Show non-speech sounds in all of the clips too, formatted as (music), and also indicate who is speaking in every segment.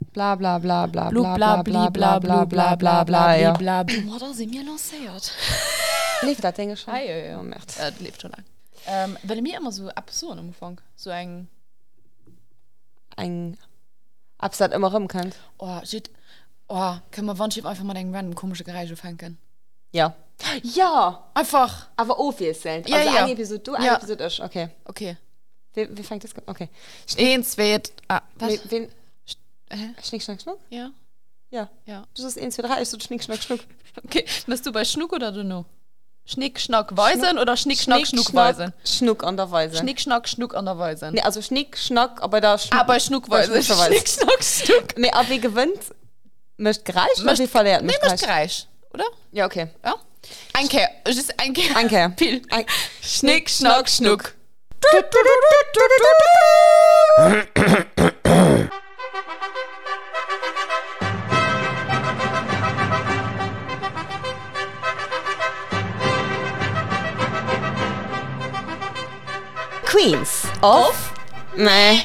Speaker 1: bla bla bla bla
Speaker 2: Blu, bla, bli, bla, bla, bla, bla, bla,
Speaker 1: ja.
Speaker 2: bli, bla, bla. Boah, Oh, da sind wir lanciert.
Speaker 1: Lief das Ding schon? Oh, merde.
Speaker 2: Äh, das lebt schon lang. Ähm, weil mir immer so absurd am Anfang. So ein,
Speaker 1: Ein Absatz immer rum kann.
Speaker 2: oh, shit. Oh, können wir Wannschiff einfach mal den random komischen Geräusche fangen?
Speaker 1: Ja. Ja,
Speaker 2: Einfach.
Speaker 1: aber auch viel sind.
Speaker 2: Ja,
Speaker 1: also
Speaker 2: ja.
Speaker 1: eine Episode du, eine
Speaker 2: Ja.
Speaker 1: Episode ich. Okay.
Speaker 2: Okay.
Speaker 1: Wie, wie fängt das an? Okay.
Speaker 2: Eins, zwei, drei- ah, was?
Speaker 1: Wen, wen,
Speaker 2: Hä?
Speaker 1: schnick, schnack, schnuck?
Speaker 2: Ja.
Speaker 1: Ja.
Speaker 2: Ja.
Speaker 1: Du bist 1, 2, 3, ich so schnick, schnack, schnuck.
Speaker 2: Okay, bist du bei Schnuck oder du no? Schnick, Schnack, Weisen oder Schnick, Schnack, Schnuck, Weisen?
Speaker 1: Schnuck an der Weise.
Speaker 2: Schnick, Schnack, Schnuck an der Weisen.
Speaker 1: Nee, also Schnick, Schnack, aber da Schnuck.
Speaker 2: Aber Schnuck Weisen.
Speaker 1: Schnuck Weisen.
Speaker 2: Schnick, Schnack, Schnuck.
Speaker 1: Nee, aber wie gewinnt? Möcht gereicht oder
Speaker 2: Möcht-
Speaker 1: wie verliert?
Speaker 2: Nee,
Speaker 1: Möcht
Speaker 2: das
Speaker 1: gereicht.
Speaker 2: Geräusch, oder?
Speaker 1: Ja, okay.
Speaker 2: Ja? Einkehr. Es ist Einkehr.
Speaker 1: Einkehr.
Speaker 2: Pil.
Speaker 1: Ein-
Speaker 2: Schnick, Schnack, Schnuck.
Speaker 1: Queens of... Nee.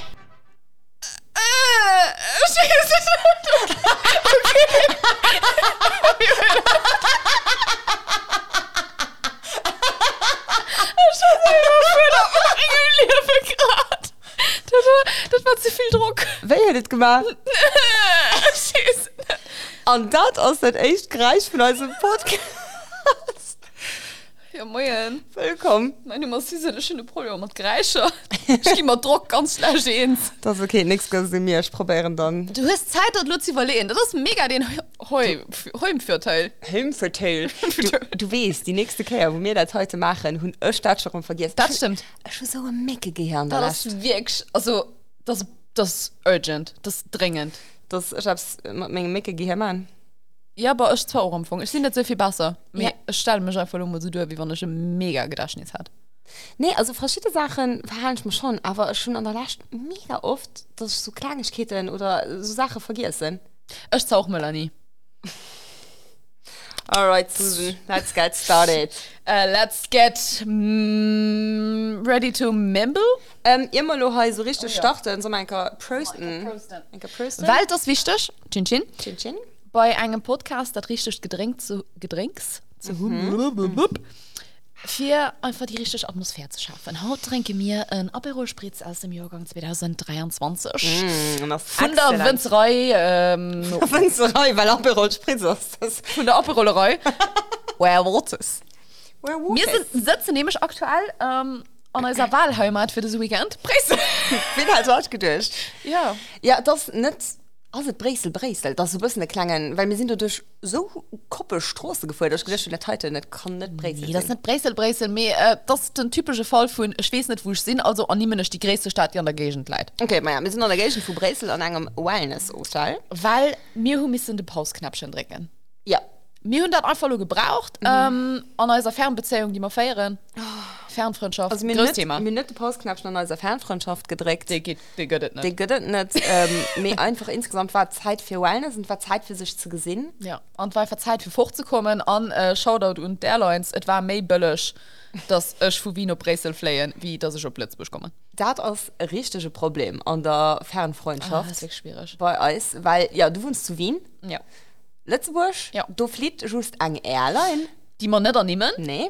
Speaker 2: Das war zu viel (laughs) Druck.
Speaker 1: Wer hätte das gemacht? Und das ist das echt gereicht für unseren Podcast.
Speaker 2: (laughs)
Speaker 1: (laughs)
Speaker 2: Ja, moin.
Speaker 1: Willkommen.
Speaker 2: Meine Masse ist eine schöne Problem mit Greischer. Ich gebe mal Druck ganz schlecht ins.
Speaker 1: Das ist okay, nichts gegen sie mir. Ich probieren dann.
Speaker 2: Du hast Zeit, dort Luzi überlegen. Das ist mega den Heimvorteil.
Speaker 1: Helm für (laughs) Tail. Du, du weißt, die nächste Kehr, wo wir das heute machen, haben ich das schon vergessen.
Speaker 2: Das stimmt.
Speaker 1: Ich habe so eine Mecke Gehirn.
Speaker 2: Das ist wirklich, also, das, das ist urgent. Das ist dringend.
Speaker 1: das, ich hab's mit meinem Mecke Gehirn an.
Speaker 2: Ja, aber ich zwar auch empfangen. Ich sehe nicht so viel besser.
Speaker 1: Ja.
Speaker 2: Ja. Ich stelle mich einfach nur so durch, wie wenn ich ein mega Gedächtnis hat.
Speaker 1: Nee, also verschiedene Sachen verhalte ich mir schon, aber schon an der Last mega oft, dass ich so Kleinigkeiten oder so Sachen vergessen.
Speaker 2: Ich zwar auch Melanie.
Speaker 1: Alright, Susan, let's get (laughs) started.
Speaker 2: Uh, let's get mm, ready to mimble.
Speaker 1: ähm, immer nur heute so richtig oh, ja. starten, so mein Ka- Prosten. Mein Ka- Prosten.
Speaker 2: Weil das wichtig, chin chin,
Speaker 1: Chin, chin.
Speaker 2: bei einem Podcast, das richtig Getränk zu, Getränks zu mhm. für einfach die richtige Atmosphäre zu schaffen. Heute trinke mir ein Aperol Spritz aus dem Jahrgang 2023. Mhm.
Speaker 1: Mm, das ist
Speaker 2: Von der
Speaker 1: exzellent.
Speaker 2: Winzerei, ähm,
Speaker 1: Winzerei, weil Aperol Spritz ist. Das-
Speaker 2: von der Aperolerei. (laughs) Where what is?
Speaker 1: Where
Speaker 2: Wir
Speaker 1: was it?
Speaker 2: sind, sitzen nämlich aktuell ähm, an (clears throat) unserer Wahlheimat für das Weekend. (laughs) Preis.
Speaker 1: bin halt so ausgedacht.
Speaker 2: ja.
Speaker 1: Ja, das ist nicht. Also Bresel, Bresel, das ist so ein bisschen klangen, weil wir sind da durch so Koppelstraße gefahren, dass ich gedacht habe, das heute nicht kann nicht Bresel
Speaker 2: Nee,
Speaker 1: sein.
Speaker 2: das ist nicht Bresel, Bresel, mehr, äh, das ist ein typischer Fall von, ich weiß nicht, wo ich bin, also annehmen ist die größte Stadt, die an der Gegend leid.
Speaker 1: Okay, Maja, wir sind an der Gegend von Bresel an einem Wellness-Hotel.
Speaker 2: Weil wir müssen den Pausknäppchen trinken.
Speaker 1: Ja.
Speaker 2: Wir haben das einfach nur gebraucht, mhm. Oh. ähm, an unserer Fernbeziehung, die wir feiern. Fernfreundschaft,
Speaker 1: Also, wir
Speaker 2: großes
Speaker 1: nicht,
Speaker 2: Thema.
Speaker 1: wir nicht den Postknapsch an unserer Fernfreundschaft gedreckt.
Speaker 2: Die geht, die geht das nicht.
Speaker 1: Die geht nicht. Ähm, (laughs) mir einfach insgesamt war Zeit für Wellness und war Zeit für sich zu gesehen.
Speaker 2: Ja, und weil für Zeit für Frucht zu kommen, an äh, Shoutout und Airlines, es war mehr böllisch, dass ich von Wien auf Bresel fliehen, wie dass ich auf Plötzlich komme.
Speaker 1: Das ist ein richtiges Problem an der
Speaker 2: Ah,
Speaker 1: Fernfreundschaft
Speaker 2: das ist wirklich schwierig.
Speaker 1: bei uns, weil, ja, du wohnst zu Wien,
Speaker 2: Ja.
Speaker 1: Lützburg,
Speaker 2: Ja.
Speaker 1: du fliegt just an Airline.
Speaker 2: Die man nicht annehmen,
Speaker 1: Nee,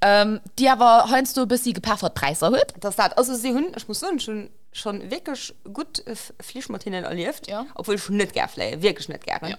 Speaker 2: ähm, die aber heinst du ein bisschen gepaffert Preis erhöht.
Speaker 1: das hat. Also, sie haben, ich muss sagen, schon, schon wirklich gut äh, Fliegmartinen erlebt,
Speaker 2: Ja.
Speaker 1: obwohl ich nicht gerne fliege, wirklich nicht gerne.
Speaker 2: Ja.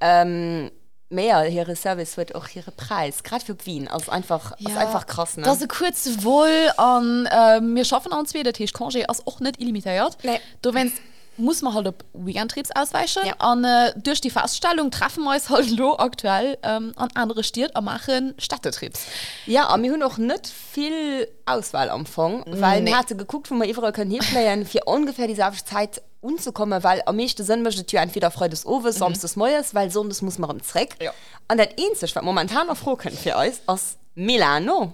Speaker 1: ähm, mehr ihre Service wird auch ihre Preis gerade für Wien also einfach ja, ist einfach krass ne?
Speaker 2: Das ist er kurz wohl an, äh, wir schaffen an zwei, der Tisch Congé ist auch nicht illimitiert.
Speaker 1: Nee.
Speaker 2: Du, wenn's, muss man halt auf Weekend-Trips ausweichen.
Speaker 1: Ja.
Speaker 2: Ja. Und äh, durch die Feststellung treffen wir uns halt (laughs) nur aktuell ähm, an andere Stiert und machen Städtetrips.
Speaker 1: ja aber wir haben auch nicht viel Auswahl am Anfang weil nee.
Speaker 2: Nee.
Speaker 1: wir hatten geguckt wo wir überall können hinplayen für ungefähr diese Zeit umzukommen weil am meisten Sinn möchte Tür entweder Freudes Oves mhm. sonst des Neues weil sonst muss man im Zweck
Speaker 2: Ja.
Speaker 1: und das Einzige was momentan noch froh können für euch aus Milano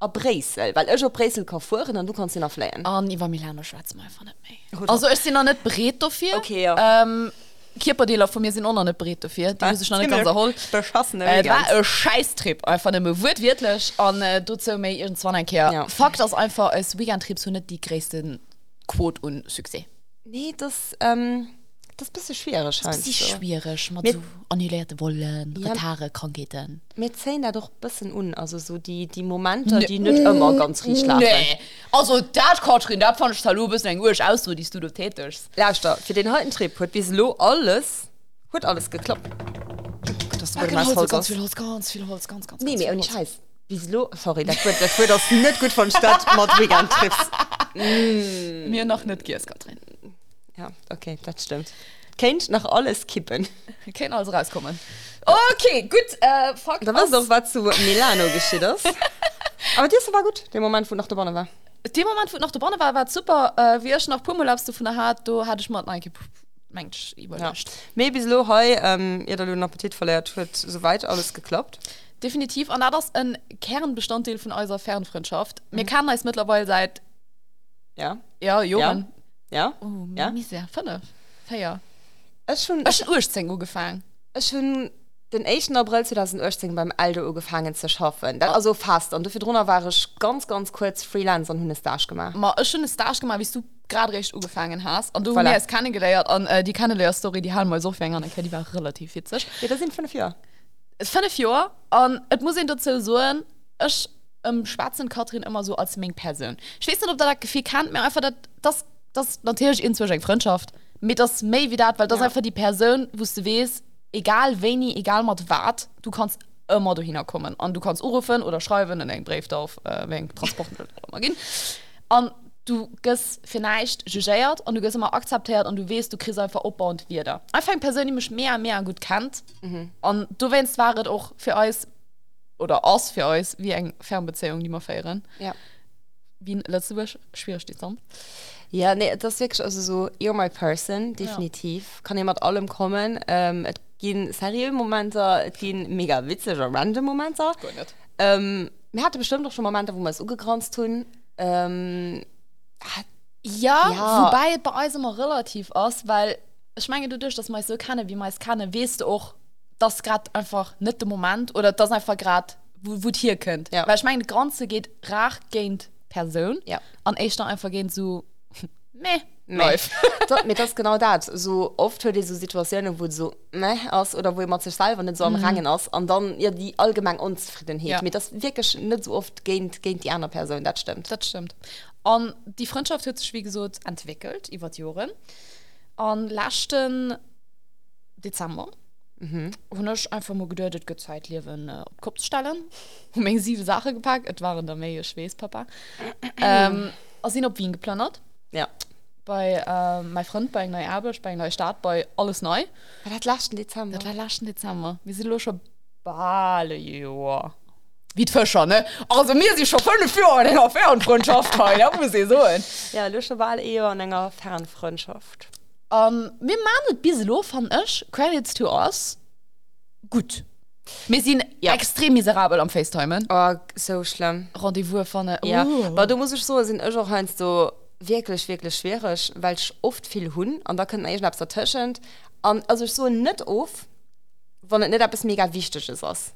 Speaker 1: auf Bresel weil ich auf Bresel kann fahren und du kannst ihn noch flyen
Speaker 2: Und über Milano schwarz mal einfach nicht mehr.
Speaker 1: Oder-
Speaker 2: Also ich bin noch nicht bereit dafür.
Speaker 1: Okay, ja. Ah,
Speaker 2: Ähm, Kipperdealer von mir sind auch noch nicht bereit dafür. Die muss ich Ah, noch nicht ganz erholen.
Speaker 1: Beschossene
Speaker 2: Äh, das
Speaker 1: Weekend.
Speaker 2: war ein Scheißtrip, einfach nicht mehr wird wirklich. Und äh, dazu mir irgendwann einkehr.
Speaker 1: Ja.
Speaker 2: Ja. Fakt ist einfach, als Weekend-Trips sind nicht die größten Quote und Success.
Speaker 1: Nee, das, ähm, das ist ein bisschen schwierig.
Speaker 2: Das ist
Speaker 1: scheinbar.
Speaker 2: schwierig, mit
Speaker 1: Mit-
Speaker 2: so annullierte Wollen,
Speaker 1: Ja.
Speaker 2: Gitarre, Krankheiten.
Speaker 1: Mir zählen da doch ein bisschen un. Also so die, die Momente, die nicht immer ganz richtig laufen.
Speaker 2: Nee, also das, Katrin, das fand ich total ein bisschen gut aus, so die du tätigst.
Speaker 1: Lauscht da, für den heutigen Trip hat bis lo alles, hat alles geklappt. Das wurde mal voll
Speaker 2: ganz
Speaker 1: aus.
Speaker 2: viel Holz, ganz viel Holz, ganz, ganz,
Speaker 1: Nee,
Speaker 2: ganz
Speaker 1: mir
Speaker 2: viel
Speaker 1: auch nicht
Speaker 2: Holz.
Speaker 1: heiß. Bis lo, sorry, (laughs) das wird, das wird das nicht gut von Stadt, mit vegan Trips.
Speaker 2: Mir noch nicht Giers, Katrin.
Speaker 1: Ja, okay, das stimmt. Kennt nach alles kippen.
Speaker 2: Wir können also rauskommen. Okay, gut, äh, fuck.
Speaker 1: Da war doch was zu Milano geschieht (laughs) das. Aber das war gut, der Moment, wo nach der Bonne war.
Speaker 2: dem Moment, wo ich nach der Bonne war, war super. Äh, wie ich noch Pummel habst du von der Hart, da hatte ich mal ein Mensch
Speaker 1: Ja.
Speaker 2: überrascht. Ja.
Speaker 1: Mir bis lo heu, ähm, ihr da den Appetit verliert, hat soweit alles geklappt.
Speaker 2: Definitiv. Und das ist ein Kernbestandteil von unserer Fernfreundschaft. Mhm. Wir kennen uns mittlerweile seit,
Speaker 1: Ja,
Speaker 2: ja, Jahren.
Speaker 1: ja.
Speaker 2: Ja. Oh,
Speaker 1: Ja.
Speaker 2: ja? Misere. Fünf. Feier.
Speaker 1: Es schon,
Speaker 2: Ich bin ursprünglich angefangen.
Speaker 1: es schon den 1. April 2018 beim Aldo gefangen zu schaffen. Das also fast. Und dafür drunter war ich ganz, ganz kurz Freelancer und Hundestasch gemacht.
Speaker 2: mal schon einen Stage gemacht, wie du gerade recht angefangen hast. Und du
Speaker 1: Voilà.
Speaker 2: voilà. hast keine gelehrt. Und äh, die Kannelehrer-Story, die haben wir so fängern. Okay, die war relativ witzig.
Speaker 1: Ja, das sind fünf Jahre.
Speaker 2: Es fand ich ja. Und es muss ich dazu sagen, ich ähm, schwarzen Katrin immer so als meine Person. Ich weiß nicht, ob das das Gefühl kann, mir einfach, dass das, das natürlich inzwischen eine Freundschaft. Mit das mehr wie das, weil das
Speaker 1: Ja.
Speaker 2: ja. einfach die Person, wo du weißt, egal wenig, egal was wart, du kannst immer da hinkommen. Und du kannst anrufen oder schreiben in einen Brief drauf, äh, wegen Transport (laughs) oder was auch immer gehen. Und du gehst vielleicht jugiert und du gehst immer akzeptiert und du weißt, du kriegst einfach abbauend wieder. Einfach eine Person, die mich mehr und mehr gut kennt. Und du wennst waret auch für euch oder aus für euch wie eng Fernbeziehung, die wir feiern.
Speaker 1: Ja.
Speaker 2: Wie in Lützburg, schwierig um. die Sachen.
Speaker 1: Ja, nee, das ist wirklich also so, you're my person, definitiv. Ja. Kann jemand allem kommen. Ähm, es gehen seriöse Momente, es gehen mega witzige, random Momente.
Speaker 2: nicht.
Speaker 1: Ähm, mir hatte bestimmt auch schon Momente, wo wir es ungegrenzt tun. Ähm,
Speaker 2: Ja,
Speaker 1: Ja.
Speaker 2: ja, wobei es bei uns immer relativ aus, weil ich meine, du durch das meist so kann, wie meist kann, weißt du auch, das ist gerade einfach nicht der Moment oder das ist einfach gerade, wo, wo es hier könnt.
Speaker 1: Ja.
Speaker 2: Weil ich meine, die Grenze geht rach gegen die Person
Speaker 1: Ja.
Speaker 2: und echt dann einfach gehen so, (laughs) meh,
Speaker 1: meh. (laughs) das, mir das genau das. So oft hört ihr so Situationen, wo es so meh aus oder wo jemand sich selber nicht so am Rangen ist und dann ja die allgemeine Unzufriedenheit. Mhm. Ja.
Speaker 2: Ja.
Speaker 1: Mir das wirklich nicht so oft gegen, gegen die andere Person, das stimmt.
Speaker 2: Das stimmt. Und die Freundschaft hat sich, wie gesagt, entwickelt über die Jahre. Und letzten Dezember mhm. habe ich einfach mal gedacht, es geht Zeit, Leben äh, auf den Kopf zu stellen. (laughs) Und meine sieben Sachen gepackt. Es waren da mehr Schweiß, Papa. ähm, also sind auf Wien geplant.
Speaker 1: Ja.
Speaker 2: Bei äh, meinem Freund, bei einer neuen Arbeit, bei einer neuen Stadt, bei alles neu.
Speaker 1: War das letzten Dezember?
Speaker 2: Das war letzten Dezember. Wir sind schon bale Jahre. Wie die Fischer, ne? Also, wir sind schon fünf Jahre in der Fernfreundschaft, da muss ich sagen.
Speaker 1: Ja, Lüsche Wahl eher in einer Fernfreundschaft.
Speaker 2: Um, wir machen ein bisschen lo von euch. Credits to us. Gut. Wir sind
Speaker 1: Ja.
Speaker 2: ja. extrem miserabel am FaceTimen.
Speaker 1: Oh, so schlimm.
Speaker 2: Rendezvous von äh,
Speaker 1: Ja,
Speaker 2: uh.
Speaker 1: aber du musst ich so, sind ich auch eins so wirklich, wirklich schwierig, weil ich oft viel hun und da können eigentlich etwas dazwischen. Und also ich so nicht auf, wenn es nicht etwas mega Wichtiges ist.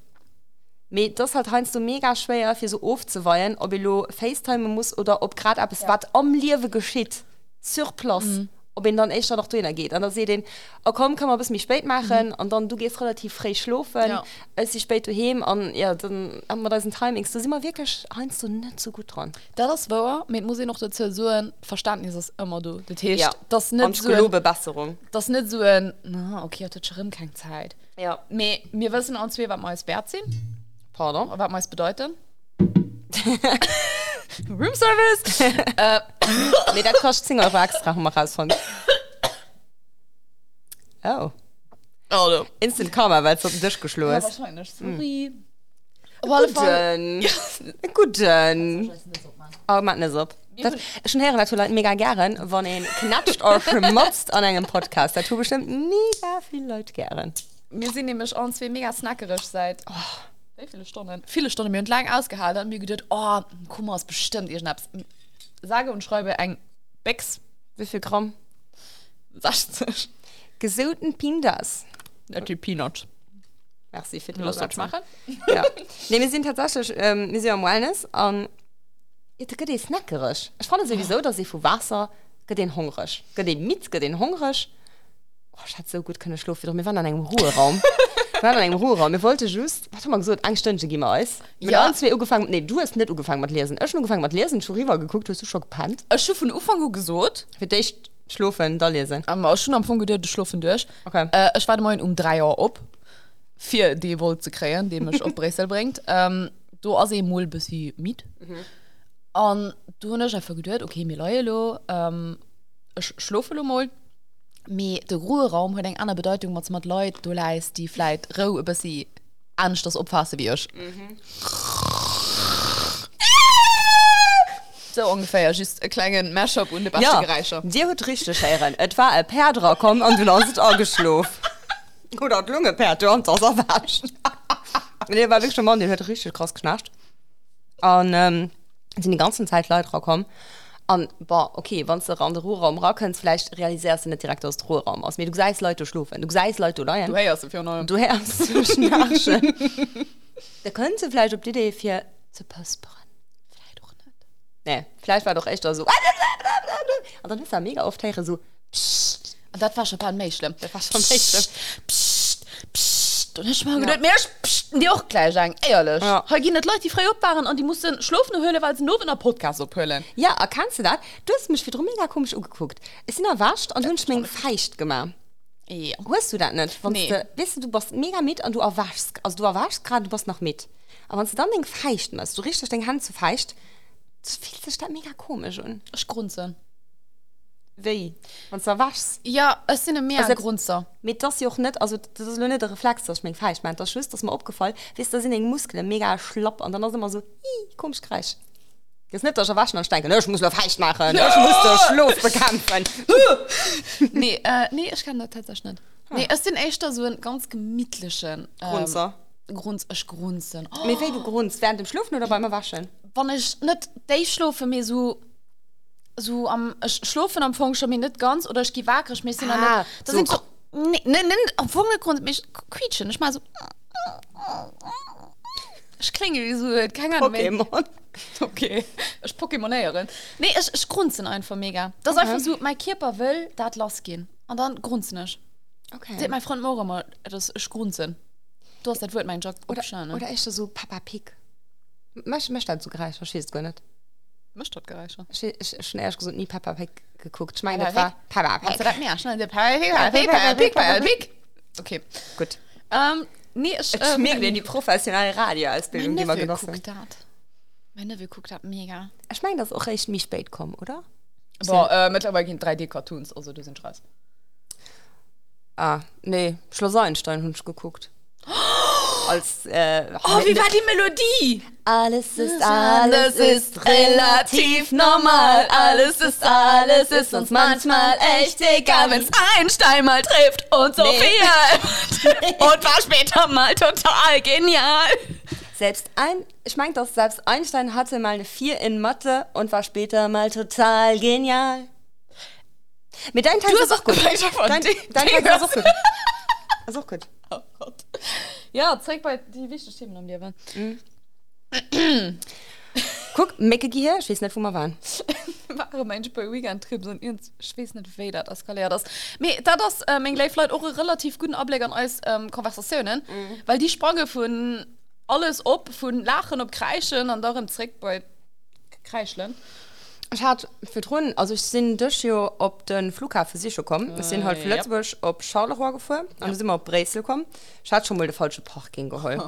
Speaker 1: Me, das halt heinst du mega schwer, für so aufzuweihen, ob ich lo FaceTime muss oder ob gerade etwas ja. was am Leben geschieht. Sur place. Mhm. Ob ihn dann echt da noch drin geht. Und dann sehe ich den, oh komm, kann man bis mich spät machen. Mhm. Und dann du gehst relativ frei schlafen.
Speaker 2: Ja.
Speaker 1: Es ist spät daheim. Und ja, dann haben wir diesen Timings. Da sind wir wirklich heinst du nicht so gut dran.
Speaker 2: Das war, mit muss ich noch dazu sagen, Verständnis ist immer du. Das heißt,
Speaker 1: Ja.
Speaker 2: das ist
Speaker 1: Und
Speaker 2: nicht
Speaker 1: ich
Speaker 2: so ein,
Speaker 1: glaube, Besserung.
Speaker 2: das ist nicht so ein, na, okay, hat schon keine Zeit.
Speaker 1: Ja.
Speaker 2: Wir, wir wissen uns, wie wir uns Bert sind,
Speaker 1: Pardon.
Speaker 2: was wir (laughs) bedeuten. Room Service!
Speaker 1: Nee, das kostet 10 Euro extra, haben wir
Speaker 2: (laughs)
Speaker 1: rausgefunden. Oh.
Speaker 2: Also.
Speaker 1: Instant Karma, weil es auf den Tisch geschlagen
Speaker 2: Ja,
Speaker 1: ist.
Speaker 2: wahrscheinlich, sorry. Auf alle Fälle-
Speaker 1: Guten. Guten. Oh, mach nicht so. Das, schon hören natürlich Leute mega gern, wenn ihr knatscht oder (laughs) schmotzt an einem Podcast. Da tun bestimmt mega viele Leute gern.
Speaker 2: Wir sind nämlich uns wie mega snackerisch seit. Oh. Wie viele Stunden? Viele Stunden. Wir haben lang ausgehalten und mir gedacht, oh, guck mal, ist bestimmt ihr Schnaps. Sage und schreibe ein Becks.
Speaker 1: Wie viel Gramm?
Speaker 2: Sagst du? das?
Speaker 1: Gesunden Pindas.
Speaker 2: Natürlich Peanut.
Speaker 1: Merci für die
Speaker 2: Lust, was ich
Speaker 1: Übersetzung.
Speaker 2: machen?
Speaker 1: (laughs) Ja. Nee, wir sind tatsächlich, ähm, wir sind am Wellness und ich denke, die ist snackerisch. Ich fand sowieso, dass ich von Wasser geht den hungrig geht den mit geht den hungrig oh, ich hatte so gut keine Schluft wieder wir waren an einem Ruheraum wir waren an einem Ruheraum wir wollten just warte mal so ein Stündchen gehen wir aus wir
Speaker 2: Ja.
Speaker 1: haben zwei Uhr gefangen nee du hast nicht Uhr gefangen mit lesen ich schon gefangen mit lesen schon rüber geguckt hast du schon gepannt
Speaker 2: Ich habe von Anfang an gesagt,
Speaker 1: für dich schlufen da lesen
Speaker 2: aber schon am Anfang gedacht, ich schlafe durch.
Speaker 1: Okay.
Speaker 2: Äh, ich warte morgen um drei Uhr ab, für die Wolle zu kreieren, die mich auf Bresel bringt. Ähm, da also ich mal ein bisschen mit. Und du hast einfach gedacht, okay, wir leuen lo, ähm, ich schlafe lo mal. Aber der Ruheraum hat eine andere Bedeutung, was mit Leuten du leist, die vielleicht roh ein bisschen anders das auffassen wie ich. So ungefähr, just einen kleinen Mashup und eine Bastigereiche.
Speaker 1: dir wird richtig scheren etwa ein Perdra kommen und du hast auch geschlufen (laughs) oder hat Lunge Perd und das erwaschen (laughs) nee war wirklich schon mal der hat richtig krass knascht und ähm, sind die ganzen Zeit Leute rauskommen und boah okay wenn du an den Ruheraum rauskommt vielleicht realisierst du nicht direkt aus dem Ruheraum aus mir du sagst Leute schlufen du sagst Leute leiden
Speaker 2: Du hast für neue.
Speaker 1: du hörst (laughs) zwischen Arschen. da können sie vielleicht ob die Idee für zu postbrennen. Vielleicht auch nicht. Nee, vielleicht war doch echt (laughs) da so. Und dann ist er mega oft Tiere so. Psst,
Speaker 2: Und das war schon ein paar schlimm. Das
Speaker 1: war schon echt schlimm.
Speaker 2: Psst, psst. Und ich mal gedacht, mir ist psst, die auch gleich sagen, ehrlich.
Speaker 1: Ja.
Speaker 2: Heute gehen nicht Leute, die frei up waren und die mussten schlafen in der Höhle, weil sie nur in der Podcast abhöhlen.
Speaker 1: Ja, erkennst du das? Du hast mich wiederum mega komisch angeguckt. Ich bin erwascht und hast mich feicht gemacht.
Speaker 2: Ja.
Speaker 1: Hörst du das nicht? Wenn
Speaker 2: Nee.
Speaker 1: Du, weißt du, du bist mega mit und du erwachst. Also du erwachst gerade, du bist noch mit. Aber wenn du dann den feicht machst, du richtig deine Hand zu feicht, das fühlt sich das mega komisch an.
Speaker 2: Ich grunze.
Speaker 1: Wie? Wenn du erwachst.
Speaker 2: Ja, es sind mehr
Speaker 1: Also-
Speaker 2: also, Grunzer.
Speaker 1: mit das ja auch nicht also das ist nur nicht der Reflex das schmeckt falsch meint das schüss das ist mir aufgefallen wisst ihr, da sind den Muskeln mega schlapp und dann ist immer so "Ih, komisch kreisch jetzt nicht dass ich waschen und denke ne, ich muss nur falsch machen ne, ich muss den Schlaf bekämpfen
Speaker 2: (laughs) nee, äh, nee, (laughs) ich kann das tatsächlich nicht. Nee, es sind echt so ein ganz gemütlichen. Ähm,
Speaker 1: Grunzer.
Speaker 2: Grunz, ich grunzen. Oh,
Speaker 1: mit wem du grunzt während dem Schlafen oder beim Waschen
Speaker 2: wenn ich nicht die schlafe, mir so so am ich schlafe am Anfang schon mir nicht ganz oder ich gehe wackelig, mir sind dann
Speaker 1: Ah,
Speaker 2: nicht, das
Speaker 1: so
Speaker 2: so sind so nee, nee, nee, am Anfang Grund mich quietschen, ich mal so ich klinge wie so äh, keine Ahnung mehr.
Speaker 1: Pokémon
Speaker 2: (laughs) okay ich Pokémonerin nee ich, ich grunzen einfach mega das okay. einfach so mein Körper will das losgehen und dann grunzen ich
Speaker 1: okay
Speaker 2: sieht mein Freund morgen mal das ich grunzen du hast das wird mein Job
Speaker 1: oder,
Speaker 2: abschauen, ne?
Speaker 1: oder echt so Papa Pig möchte möchte dazu gereicht verstehst du nicht
Speaker 2: Mischt das gereicht schon.
Speaker 1: ich, ich, ich schon ehrlich gesagt nie Papa Pig geguckt ich meine
Speaker 2: Papa
Speaker 1: das war Papa
Speaker 2: Kannst du
Speaker 1: Pig
Speaker 2: das mehr? Schnell, der Parallelweg, Parallelweg, Parallelweg, Parallelweg. Okay.
Speaker 1: gut
Speaker 2: Ähm, nee, ich,
Speaker 1: ich schmier dir die professionelle Radioausbildung
Speaker 2: Mein
Speaker 1: die wir
Speaker 2: Neffe
Speaker 1: genossen
Speaker 2: guckt das. Mein Neffe guckt das mega.
Speaker 1: Ich meine, das ist auch echt mich spät kommen, oder?
Speaker 2: Boah, äh, mittlerweile gehen 3D-Cartoons, also du sind scheiß.
Speaker 1: Ah, nee, Schloss Einstein hab ich geguckt.
Speaker 2: (gasps)
Speaker 1: Als, äh,
Speaker 2: Oh, wie war die Melodie?
Speaker 1: alles ist,
Speaker 2: alles ist relativ normal. Alles ist, alles ist uns manchmal echt egal, wenn's Einstein mal trifft und Sophia. (laughs) und war später mal total genial.
Speaker 1: Selbst ein, ich meine, dass selbst Einstein hatte mal eine 4 in Mathe und war später mal total genial. Mit deinem Teil
Speaker 2: Du
Speaker 1: ist
Speaker 2: hast auch (laughs) gemeint davon.
Speaker 1: Dein, dein Teil ist auch gut. Ist auch gut.
Speaker 2: Oh Gott. Ja, zeig mal die wichtigsten Themen am Leben. (laughs)
Speaker 1: Guck, Mecke hier, ich weiß nicht, wo wir waren.
Speaker 2: Wahre Menschen bei Weekend-Trips und ihr wisst nicht, wie das eskaliert ist. Mir, da das, äh, mein Live Leute auch einen relativ guten Ableger an als ähm, Konversationen, mhm. weil die sprangen von alles ab, von Lachen ob Kreischen und darum zurück bei Kreischeln.
Speaker 1: Ich hatte für Drohnen, also ich bin durch hier auf den Flughafen sicher gekommen. Ich bin halt von
Speaker 2: Ah, ja.
Speaker 1: Lützburg auf Charleroi gefahren und dann sind wir auf Bresel gekommen. Ich hatte schon mal den falschen Parking
Speaker 2: (laughs)
Speaker 1: geholt.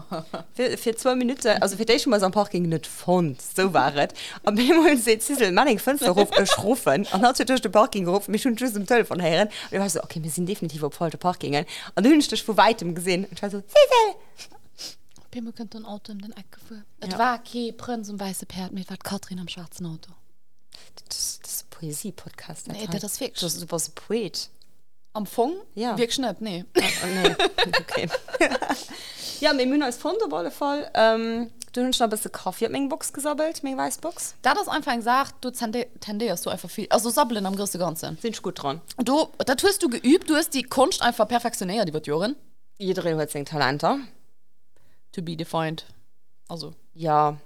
Speaker 1: für, für zwei Minuten, also für dich schon mal so ein Parking nicht fand, so war es. Und bin mal in den Zissel, Mann, ich Fenster ruf, ich rufen. Und hat sie durch den Parking gerufen, mich schon tschüss im Telefon hören. Und ich war so, okay, wir sind definitiv auf falschen Parking. Und dann habe ich dich von Weitem gesehen. Und ich war so, Zissel!
Speaker 2: Pimmel könnte ein Auto um den Eck gefahren. Ja.
Speaker 1: Es
Speaker 2: Es war kein Prinz und weiße Pferd, mit war Katrin am schwarzen Auto.
Speaker 1: Das, das ist ein Poesie-Podcast.
Speaker 2: Nee,
Speaker 1: Alter.
Speaker 2: das ist wirklich-
Speaker 1: Du bist- Du warst ein Poet.
Speaker 2: Am Fong?
Speaker 1: Ja.
Speaker 2: Wirklich nicht, nee.
Speaker 1: Oh, nee. okay. (laughs) ja, mir Mühne ist von der Bolle voll. Ähm, du hast noch ein bisschen Kaffee auf meine Box gesammelt, meine Weißbox.
Speaker 2: Da das einfach gesagt, du tende- tendierst du einfach viel. Also sabbeln am größten Ganzen.
Speaker 1: Sind ich gut dran.
Speaker 2: Du, das hast du geübt, du hast die Kunst einfach perfektioniert, die wird Jorin.
Speaker 1: Jeder hat sein Talent. ja?
Speaker 2: To be defined. Also.
Speaker 1: Ja.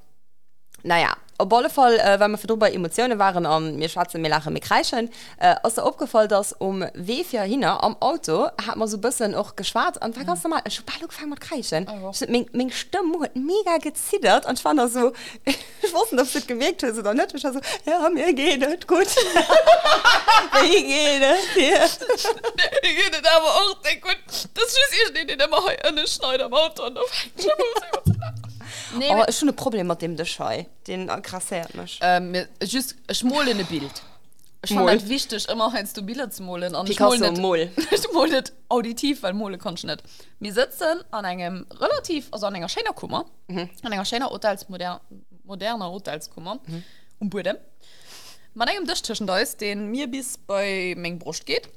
Speaker 1: Naja, Op alle Fall äh, wenn man verdober Emotionen waren ähm, an mir schwarze Melache mir kreischen äh, aus der opgefallen dass um wefir hin am Auto hat man so bisschen auch geschwarz an ganz normal äh, schon bald angefangen mit kreischen
Speaker 2: Oh.
Speaker 1: Ich- mein- mein Stimme hat mega gezittert und ich fand das so (laughs) ich wusste nicht, ob du das gemerkt hast oder nicht ich war so ja mir geht das gut (laughs) mir geht das hier
Speaker 2: (laughs) Ich hätte da aber auch denkt, gut, das ist ihr nicht immer eine Schneider am Auto (laughs) und auf Nee,
Speaker 1: aber ist schon ein Problem mit dem der Schei den krassiert mich
Speaker 2: ähm, just schmolene Bild Ich fand
Speaker 1: Mol.
Speaker 2: das wichtig immer heinst du Bilder zu molen und ich
Speaker 1: Picasso
Speaker 2: mol nicht- (laughs)
Speaker 1: Mol.
Speaker 2: ich mol nicht auditiv weil Mole kannst du nicht wir sitzen an einem relativ also an einer schöner Kummer mhm. an einer schöner Urteils moder, moderner Urteilskummer mhm. um Boden man einem Tischtisch da ist den mir bis bei Menge Brust geht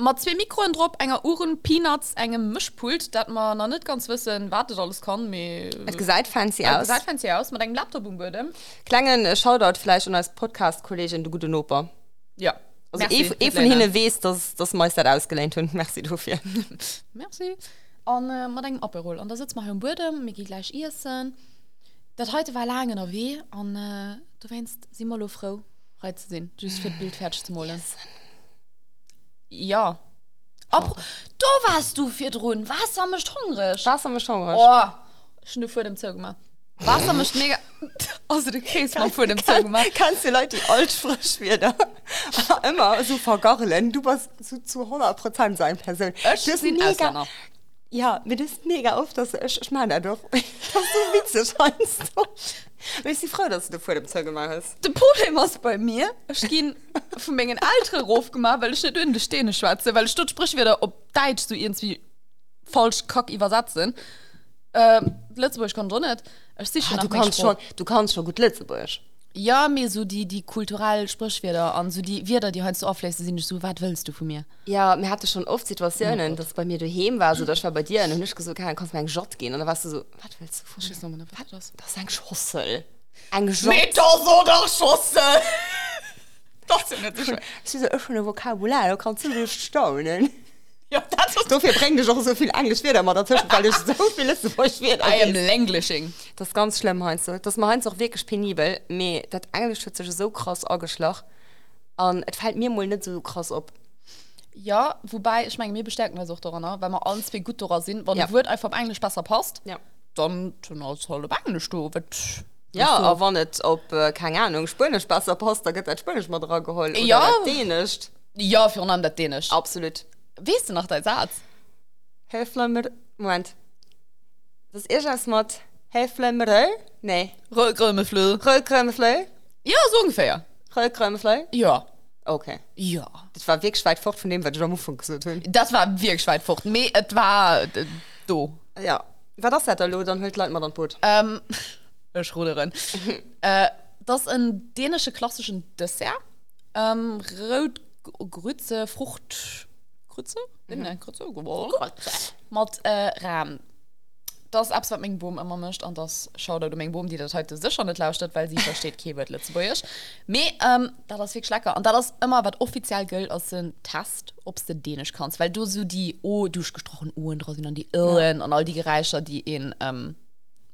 Speaker 2: mal zwei Mikroen drauf einer Uhren Peanuts einem Mischpult dat man noch nicht ganz wissen wartet alles kann mir
Speaker 1: hat gesagt fancy aus
Speaker 2: Seid fancy aus mit einem Laptop um Boden
Speaker 1: klangen äh, Shoutout vielleicht und als Podcast Kollegin du gute Noper
Speaker 2: ja
Speaker 1: Also
Speaker 2: Merci,
Speaker 1: Merci, eh, eh von
Speaker 2: Madeleine.
Speaker 1: hinne wees, dass das Meister ausgelehnt und merci dafür.
Speaker 2: Merci. Und äh, man denkt Aperol. Und da sitzt man hier im Boden, wir gehen gleich essen. Das heute war lange noch weh. Und äh, du weinst, sieh mal, oh Frau, heute zu sehen. Just für das Bild fertig zu malen. Ja. Aber du warst du für drin. Was haben mich hungrig?
Speaker 1: Spaß haben wir schon gemacht.
Speaker 2: Oh, schon vor dem Zug gemacht. Was haben mich (laughs) mega. Also, du kriegst mal vor dem Zug gemacht.
Speaker 1: Kannst du Leute, die alt frisch werden, (laughs) immer so vergorlen. Du warst so zu 100% sein Person.
Speaker 2: Ich bin Ausländer.
Speaker 1: Ja, mir das mega oft, dass ich, ich meine doch, (laughs) dass du witzig scheinst. Ich bin so froh, dass du vor dem Zeug gemacht hast.
Speaker 2: Das Problem was bei mir ich ging von Mengen alter Ruf gemacht weil ich nicht dünne stehne schwarze weil ich dort sprich wieder ob Deutsch so irgendwie falsch kock übersatz sind ähm, Lützburg kann doch nicht ich sehe schon
Speaker 1: Ah,
Speaker 2: nach
Speaker 1: du,
Speaker 2: meinem
Speaker 1: kannst
Speaker 2: Spruch.
Speaker 1: schon, du kannst schon gut Litzeburg.
Speaker 2: ja mir so die die kulturell Sprichwörter an so die Wörter die heute so auflässt sind nicht so was willst du von mir
Speaker 1: Ja, mir hatte schon oft Situationen, dass bei mir daheim war, so dass ich war bei dir und ich gesagt habe, kannst du mir einen Jot gehen? Und dann warst du so, was willst du von mir?
Speaker 2: was
Speaker 1: Das ist ein Schossel. Ein Schossel.
Speaker 2: Meter so doch Schosse das sind nicht so schön.
Speaker 1: Das ist ein schönes Vokabular, da kannst du nicht staunen. (laughs)
Speaker 2: ja das ist
Speaker 1: Dafür bringt dich auch so viel Englisch wieder mal dazwischen, weil ich so viel ist, wo ich wieder
Speaker 2: I am Langlishing
Speaker 1: Das ist ganz schlimm, Heinz. Das ist mir Heinz auch wirklich penibel. Mir das Englisch hat sich so krass angeschlagen. Und es fällt mir mal nicht so krass ab.
Speaker 2: Ja, wobei, ich meine, wir bestärken das auch daran, ne? weil wir alle zwei gut daran sind. Wenn
Speaker 1: Ja.
Speaker 2: ja. Word einfach auf Englisch besser passt,
Speaker 1: Ja.
Speaker 2: dann tun wir es halt auf Englisch. Du, wird,
Speaker 1: Ja, so. aber nicht, ob, äh, keine Ahnung, Spanisch besser passt, da geht das Spanisch mal dran geholt. oder
Speaker 2: Ja.
Speaker 1: das Dänisch.
Speaker 2: ja, für einen das Dänisch. Aber
Speaker 1: Absolut.
Speaker 2: weißt du noch deinen Satz?
Speaker 1: Helfle mir. Moment. Das ist erstmal Helfle mir. Nee.
Speaker 2: Röllgrömeflö.
Speaker 1: Röllkrömflö.
Speaker 2: Ja, so ungefähr.
Speaker 1: Röllkrömflö.
Speaker 2: Ja.
Speaker 1: Okay.
Speaker 2: Ja.
Speaker 1: Das war wirklich weit fort von dem, was ich am Anfang gesagt habe.
Speaker 2: Das war wirklich weit fort. Me, es war. Äh, do.
Speaker 1: Ja. War das halt hallo, dann hält Leute mal dann Boot.
Speaker 2: Ähm, (laughs) ich ruderin. äh, das ist ein dänische klassischen Dessert. Ähm, Rot, Grütze, Frucht. Grütze? Mhm. Nein, Grütze. Mit äh, Rahm. Das ist abs, was mein Boom immer mischt. Und das schaut auch mein Boom, die das heute sicher nicht lauscht, hat, weil sie versteht kein Wort Lützburgisch. Me, ähm, das ist wirklich lecker. Und das ist immer, was offiziell gilt, als ein Test, ob du Dänisch kannst. Weil du so die O durchgestochen Uhren draußen und die Irren und all die Geräusche, die in, ähm,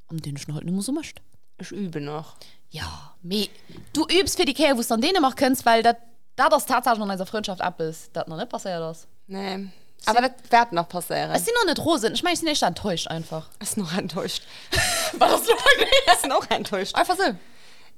Speaker 2: am Dänischen halt nicht mehr so mischt.
Speaker 1: Ich übe noch.
Speaker 2: Ja, me. Du übst für die Kerl, wo du an Dänemark kannst, weil dat, da das tatsächlich noch in unserer Freundschaft ab ist, das noch nicht passiert ist.
Speaker 1: Nee. Aber das wird noch passieren.
Speaker 2: Es sind noch nicht Rosen. Ich meine, ich bin echt enttäuscht einfach.
Speaker 1: Es ist noch enttäuscht. (laughs)
Speaker 2: War das noch
Speaker 1: Es ist noch enttäuscht.
Speaker 2: Einfach so.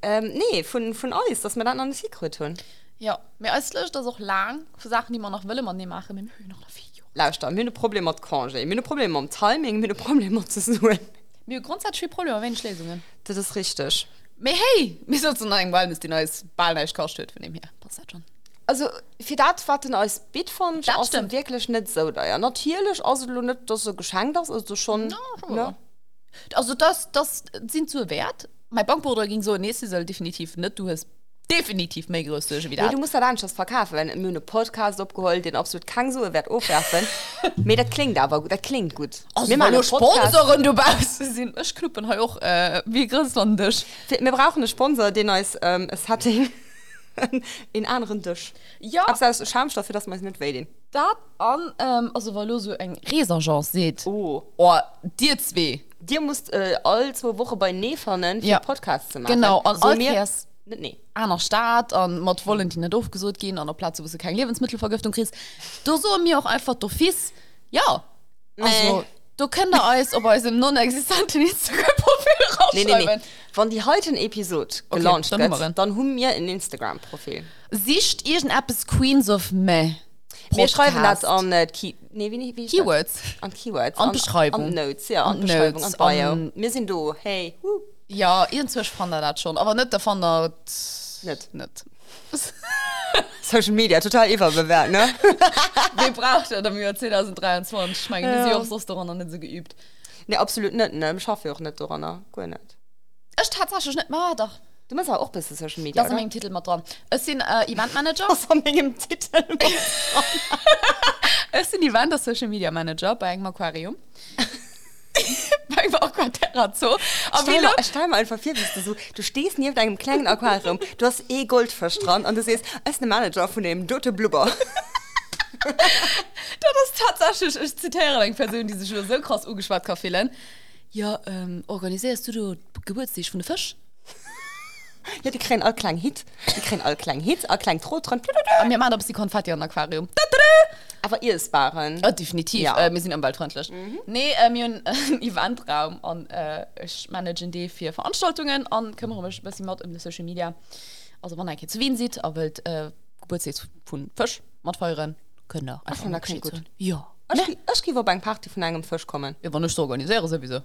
Speaker 1: Ähm, nee, von, von alles, dass wir dann noch eine Secret tun.
Speaker 2: Ja, mir ist das auch lang für Sachen, die man noch will, man nicht machen. Mit mir noch ein Video.
Speaker 1: Lauscht, wir haben ein Problem mit Congé, wir haben ein Problem mit dem Timing, wir haben ein Problem mit zu suchen.
Speaker 2: Mir grundsätzlich Probleme, wenn ich Lesungen.
Speaker 1: Das ist richtig.
Speaker 2: Me hey, mir sitzen noch irgendwann, bis die neues Ballneich kostet von dem hier. Passiert schon.
Speaker 1: Also, für das, was denn als Bit von
Speaker 2: Das
Speaker 1: ist
Speaker 2: stimmt.
Speaker 1: wirklich nicht so teuer. Natürlich, also du nicht, dass du geschenkt hast, also schon.
Speaker 2: Ja, schon mal. Also das, das sind so wert. Mein Bankbruder ging so, nee, sie soll definitiv nicht, du hast definitiv mehr Größe wieder.
Speaker 1: Nee, du musst ja dann schon verkaufen, wenn mir einen Podcast abgeholt, den absolut kein so wert
Speaker 2: (laughs)
Speaker 1: aufwerfen. Mir das klingt aber gut, das klingt gut.
Speaker 2: Also,
Speaker 1: wir,
Speaker 2: wenn
Speaker 1: machen
Speaker 2: du
Speaker 1: einen Podcast.
Speaker 2: Sponsoren du baust, sind ich knuppen halt auch äh, wie Grisländisch.
Speaker 1: wir brauchen einen Sponsor, den uns ähm, es hat in (laughs) in anderen Tisch.
Speaker 2: Ja.
Speaker 1: Aber das ist Schamstoff, für das man es nicht wählen.
Speaker 2: Dat an, ähm, also weil du so ein Resurgence seht.
Speaker 1: Oh.
Speaker 2: Oh, dir zwei.
Speaker 1: dir musst äh, all zwei Woche bei Nefernen für
Speaker 2: Ja.
Speaker 1: Podcast zu machen.
Speaker 2: Genau, und all
Speaker 1: mir,
Speaker 2: Cares-
Speaker 1: nee, nee.
Speaker 2: einer Staat an Mod wollen die nicht aufgesucht gehen an der Platz wo du keine Lebensmittelvergiftung kriegst du so mir auch einfach du fies ja also
Speaker 1: Nee.
Speaker 2: du könnt da alles ob aus dem non existenten Instagram-Profil
Speaker 1: Nee,
Speaker 2: rausschreiben
Speaker 1: nee, nee. Wenn die heute ein Episode
Speaker 2: Okay,
Speaker 1: gelauncht
Speaker 2: dann machen wir ihn.
Speaker 1: wird, dann haben wir ein Instagram-Profil.
Speaker 2: sicht irgendein App ist Queens of May
Speaker 1: Wir schreiben das
Speaker 2: Podcast.
Speaker 1: an äh, Key nee, wie, wie ist das?
Speaker 2: Keywords
Speaker 1: An Keywords.
Speaker 2: An Beschreibung.
Speaker 1: An Notes, ja. An
Speaker 2: An
Speaker 1: Beschreibung,
Speaker 2: Notes,
Speaker 1: an Bio.
Speaker 2: an-
Speaker 1: Wir sind da. Hey. Woo.
Speaker 2: ja irgendwas fand er das schon aber nicht davon
Speaker 1: Nicht.
Speaker 2: nicht nicht (laughs)
Speaker 1: Social Media, total überbewertet, ne?
Speaker 2: (laughs) wir braucht er im Jahr 2023 ich meine ja.
Speaker 1: Ja.
Speaker 2: auch so daran nicht so geübt
Speaker 1: ne, absolut nicht, ne? Ich schaffe auch nicht daran, ne? Gut nicht.
Speaker 2: ich tatsächlich nicht mal doch
Speaker 1: Du machst aber auch bis zu Social Media,
Speaker 2: das ist
Speaker 1: oder?
Speaker 2: mein Titel mal dran es sind äh, Eventmanager
Speaker 1: Was haben wir im Titel?
Speaker 2: (laughs) Es sind die Wand der Social Media Manager bei einem (laughs) Aquarium. bei einem Aquaterra Zoo. Aber
Speaker 1: Stell
Speaker 2: wir
Speaker 1: mal, stell mal einfach vier, bist du so. Du stehst neben deinem kleinen Aquarium, du hast eh Gold verstrandt und du siehst, er ist ein Manager von dem Dote Blubber. (laughs)
Speaker 2: das ist tatsächlich, ich zitiere eine Person, die sich über so krass ungeschwart kann fehlen. Ja, ähm, organisierst du den Geburtstag von den Fisch?
Speaker 1: Ja, die kriegen alle kleinen Hit. Die kriegen alle kleinen Hit, alle kleinen Trot dran.
Speaker 2: Aber Ah, wir machen ob sie Konfetti im Aquarium.
Speaker 1: Aber ihr ist Baren.
Speaker 2: Ja, definitiv.
Speaker 1: Ja. Mhm.
Speaker 2: Äh, wir sind am Wald freundlich. Nee, äh, wir haben einen (laughs) Eventraum und äh, ich manage die für Veranstaltungen und kümmere mich ein bisschen mit um die Social Media. Also, wenn ihr jetzt zu Wien seht, aber äh, Geburtstag von Fisch mit feuern, könnt ihr einfach
Speaker 1: so,
Speaker 2: mal
Speaker 1: das klingt gut.
Speaker 2: Bescheid sagen. Ja.
Speaker 1: Ich, geh- ich gehe bei einer Party von einem Fisch kommen.
Speaker 2: Ja, wenn ich so organisiere, sowieso.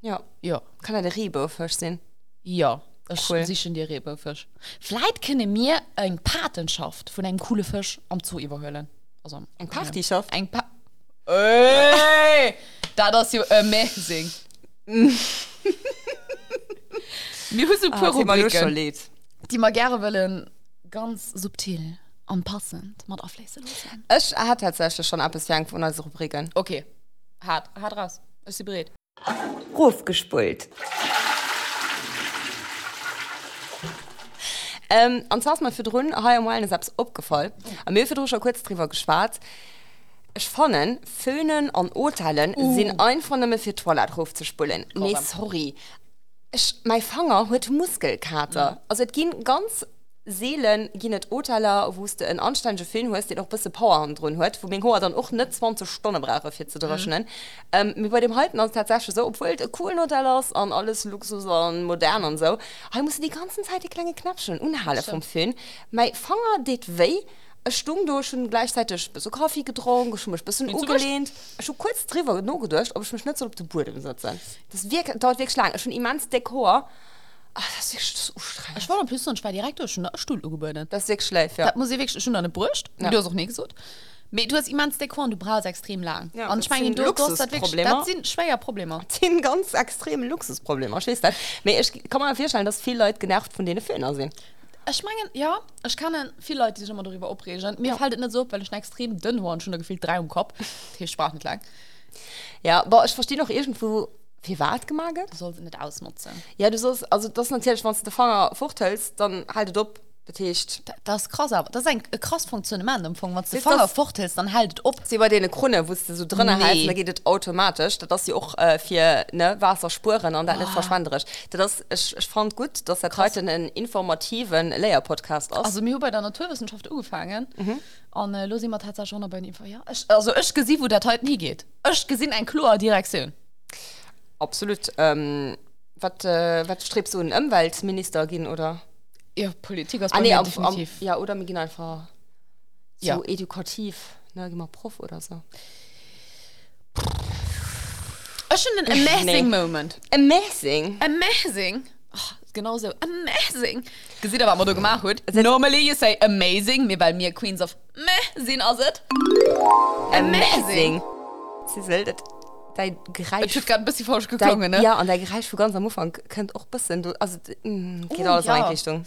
Speaker 1: Ja.
Speaker 2: Ja.
Speaker 1: Kann er der Riebe auf Fisch sehen?
Speaker 2: Ja. Das
Speaker 1: Cool.
Speaker 2: Ah, cool. ist in die Rebe Fisch. Vielleicht können wir eine Patenschaft von einem coolen Fisch am Zoo überhören. Also, ähm,
Speaker 1: Ein Partyschaft?
Speaker 2: Ein Pa... (laughs) Ey! Das ist ja amazing. (laughs) wir haben so ein paar Rubriken,
Speaker 1: lädt.
Speaker 2: die wir gerne wollen, ganz subtil und passend mit auflesen.
Speaker 1: Ich hatte tatsächlich schon ab bis von unseren Rubriken.
Speaker 2: Okay. Hart. Hart raus. Ist sie bereit?
Speaker 1: Rufgespult. Ähm, und zwar ist mir für drin heuer mal eine Saps abgefallen. Und mir für drin schon kurz drüber gespart. Ich fand, Föhnen und Urteilen uh. sind einfach nicht mehr für Toilette aufzuspulen. Nee, sorry. Ich, mein Fanger hat Muskelkater. Mhm. Also, es gehen ganz Seelen, gehen nicht Urteiler, wo es einen anständigen Film hast, der noch ein bisschen Power drin hat, wo mein Haar dann auch nicht 20 Stunden brauche, für zu dröschen. Mhm. Ähm, wir bei dem halten uns tatsächlich so, obwohl es coolen Urteiler ist und alles Luxus und modern und so, ich muss die ganze Zeit die kleine Knapschen unhalle vom Film. Mein Fanger geht weh. Ich stung durch schon gleichzeitig ein bisschen Kaffee getrunken, schon ein bisschen
Speaker 2: Nicht so
Speaker 1: angelehnt. Ich habe kurz drüber noch gedacht, ob ich mich nicht so auf den Boden setze. Das wirkt, dauert wirklich lang. Schon immens Dekor. Ach, das ist wirklich so anstrengend.
Speaker 2: Ich war noch ein bisschen und ich war direkt durch den Stuhl umgebildet.
Speaker 1: Das ist wirklich schlecht, ja.
Speaker 2: Das muss ich wirklich schon an der Brust. Ja. Du hast auch nicht gesagt. Aber du hast jemanden Dekor und du brauchst extrem lang.
Speaker 1: Ja,
Speaker 2: und
Speaker 1: das
Speaker 2: ich meine,
Speaker 1: sind
Speaker 2: du du hast das wirklich.
Speaker 1: Luxusprobleme.
Speaker 2: Das sind schwere Probleme.
Speaker 1: ein ganz extremen Luxusproblem, verstehst du? das? Aber ich kann mir vorstellen, dass viele Leute genervt von denen Filmen sind.
Speaker 2: Ich meine, ja, ich kann viele Leute, die sich immer darüber abregen. Mir ja. fällt es nicht so, auf, weil ich noch extrem dünn war und schon gefühlt drei im Kopf. Ich sprach nicht lang.
Speaker 1: Ja, aber ich verstehe noch irgendwo, wie war es gemacht?
Speaker 2: Du sollst nicht ausnutzen.
Speaker 1: Ja, du sollst, also das ist natürlich, wenn du den Fanger fuchtelst, dann haltet ab, das heißt,
Speaker 2: Da- Das ist krass, aber das ist ein äh, krass funktionierender Empfang. Wenn du den
Speaker 1: Ist das-
Speaker 2: Fanger forthältst, dann haltet ab.
Speaker 1: sie bei denen Krone, wo du so drinnen
Speaker 2: Nee.
Speaker 1: nee. heißt, dann geht das automatisch, dass sie auch äh, für ne, Wasserspuren und das
Speaker 2: Ah.
Speaker 1: nicht verschwenderisch. Das, ich, ich fand gut, dass das heute einen informativen Layer-Podcast ist.
Speaker 2: Also mir bei der Naturwissenschaft angefangen mhm. und äh, los immer tatsächlich schon noch bei dem Fall. Ja, ich, also ich gesehen, wo das heute nie geht. Ich gesehen eine klare Direktion.
Speaker 1: Absolut. Ähm, was äh, was strebst du, ein Umweltminister gehen, oder?
Speaker 2: Ja, Politik ist
Speaker 1: Ah,
Speaker 2: bei
Speaker 1: nee, am,
Speaker 2: mir
Speaker 1: am,
Speaker 2: definitiv.
Speaker 1: ja, oder wir gehen einfach so
Speaker 2: Ja.
Speaker 1: edukativ. Ne, geh mal Prof oder so.
Speaker 2: Oh, schon ein amazing
Speaker 1: Nee.
Speaker 2: Moment.
Speaker 1: Amazing.
Speaker 2: Amazing. Oh, genauso. Amazing. Gesehen, aber was du gemacht hast. Normally you say amazing, mir weil mir Queens of meh sehen aus it. Amazing.
Speaker 1: Sie solltet dein
Speaker 2: Ich
Speaker 1: Gereich...
Speaker 2: hab gerade ein bisschen falsch
Speaker 1: Dein,
Speaker 2: geklungen, ne?
Speaker 1: Ja, und dein Gereich für ganz am Anfang könnt auch ein bisschen... Du, also, d- mm, geht
Speaker 2: Oh,
Speaker 1: alles
Speaker 2: ja.
Speaker 1: in eine Richtung.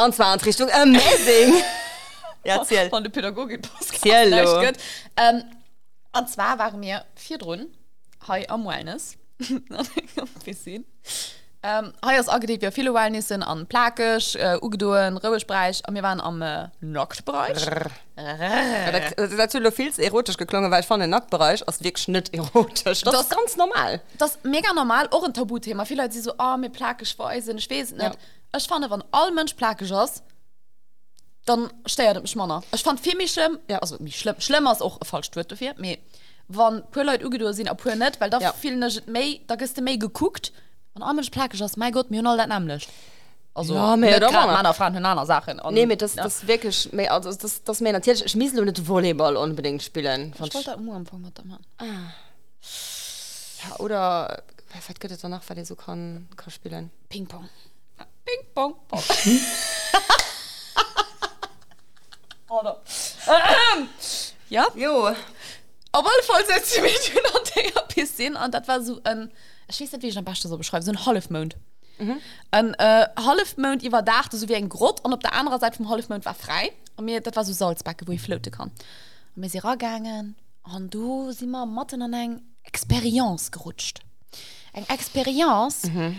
Speaker 1: Und zwar in die Richtung Amazing. (laughs) ja, erzähl.
Speaker 2: Von der (laughs) Pädagogin. Podcast.
Speaker 1: Cielo.
Speaker 2: Echt gut. Ähm, und (laughs) zwar waren wir vier drin, hei am Wellness, am Pissin, Ähm, heuer ist angedeht wir viele Wellnissen an Plakisch, äh, Ugedoen, Röbelspreich und wir waren am äh, Nacktbereich.
Speaker 1: Ja, das, dazu noch viel erotisch geklungen, weil ich fand den Nacktbereich aus wirklich nicht erotisch. Das, das
Speaker 2: Das-
Speaker 1: ist ganz normal.
Speaker 2: Das ist mega normal, auch ein Tabuthema. Viele Leute sind so, ah, oh, mir Plakisch war ich, ich weiß es nicht.
Speaker 1: Ja.
Speaker 2: Ja. Ich fand, wenn all Mensch Plakisch ist, dann steht er mich Männer. Ich fand viel mich schlimm,
Speaker 1: Ja.
Speaker 2: ja. also mich schlimm, schlimmer ist auch ein falsch Wort dafür, aber wenn paar Leute Ugedoen sind, aber paar nicht, weil da
Speaker 1: Ja.
Speaker 2: ja. viel nicht mehr, da gehst du mehr geguckt und all Mensch Plakisch ist, mein Gott, mir noch das nämlich. Also,
Speaker 1: Ja, mir
Speaker 2: nicht
Speaker 1: doch
Speaker 2: gerade
Speaker 1: mal.
Speaker 2: Männer, Frauen, Hühner, Sachen. Und-
Speaker 1: Nee, mir das, das wirklich, mir- also das, das mir natürlich, ich muss nicht Volleyball unbedingt spielen.
Speaker 2: Ich wollte am Anfang mit dem Mann.
Speaker 1: Ah. Ja, oder, was geht es danach, weil ich so kann, kann spielen?
Speaker 2: Ping-Pong. Ping-Pong. (laughs)
Speaker 1: (laughs)
Speaker 2: Oder. Ähm, ja,
Speaker 1: Jo.
Speaker 2: aber voll setzt sie mich in der (laughs) Piscine und das war so ein, ich weiß nicht, wie ich am besten so beschreibe, so ein Half-Mond. Mhm. Ein äh, Half-Mond überdachte, so wie ein Grott und auf der anderen Seite vom Half-Mond war frei und mir, das war so Salzbacke, wo ich floaten kann. Und wir sind rangegangen und du sind wir mit in eine Experience gerutscht. Eine Experience, mhm.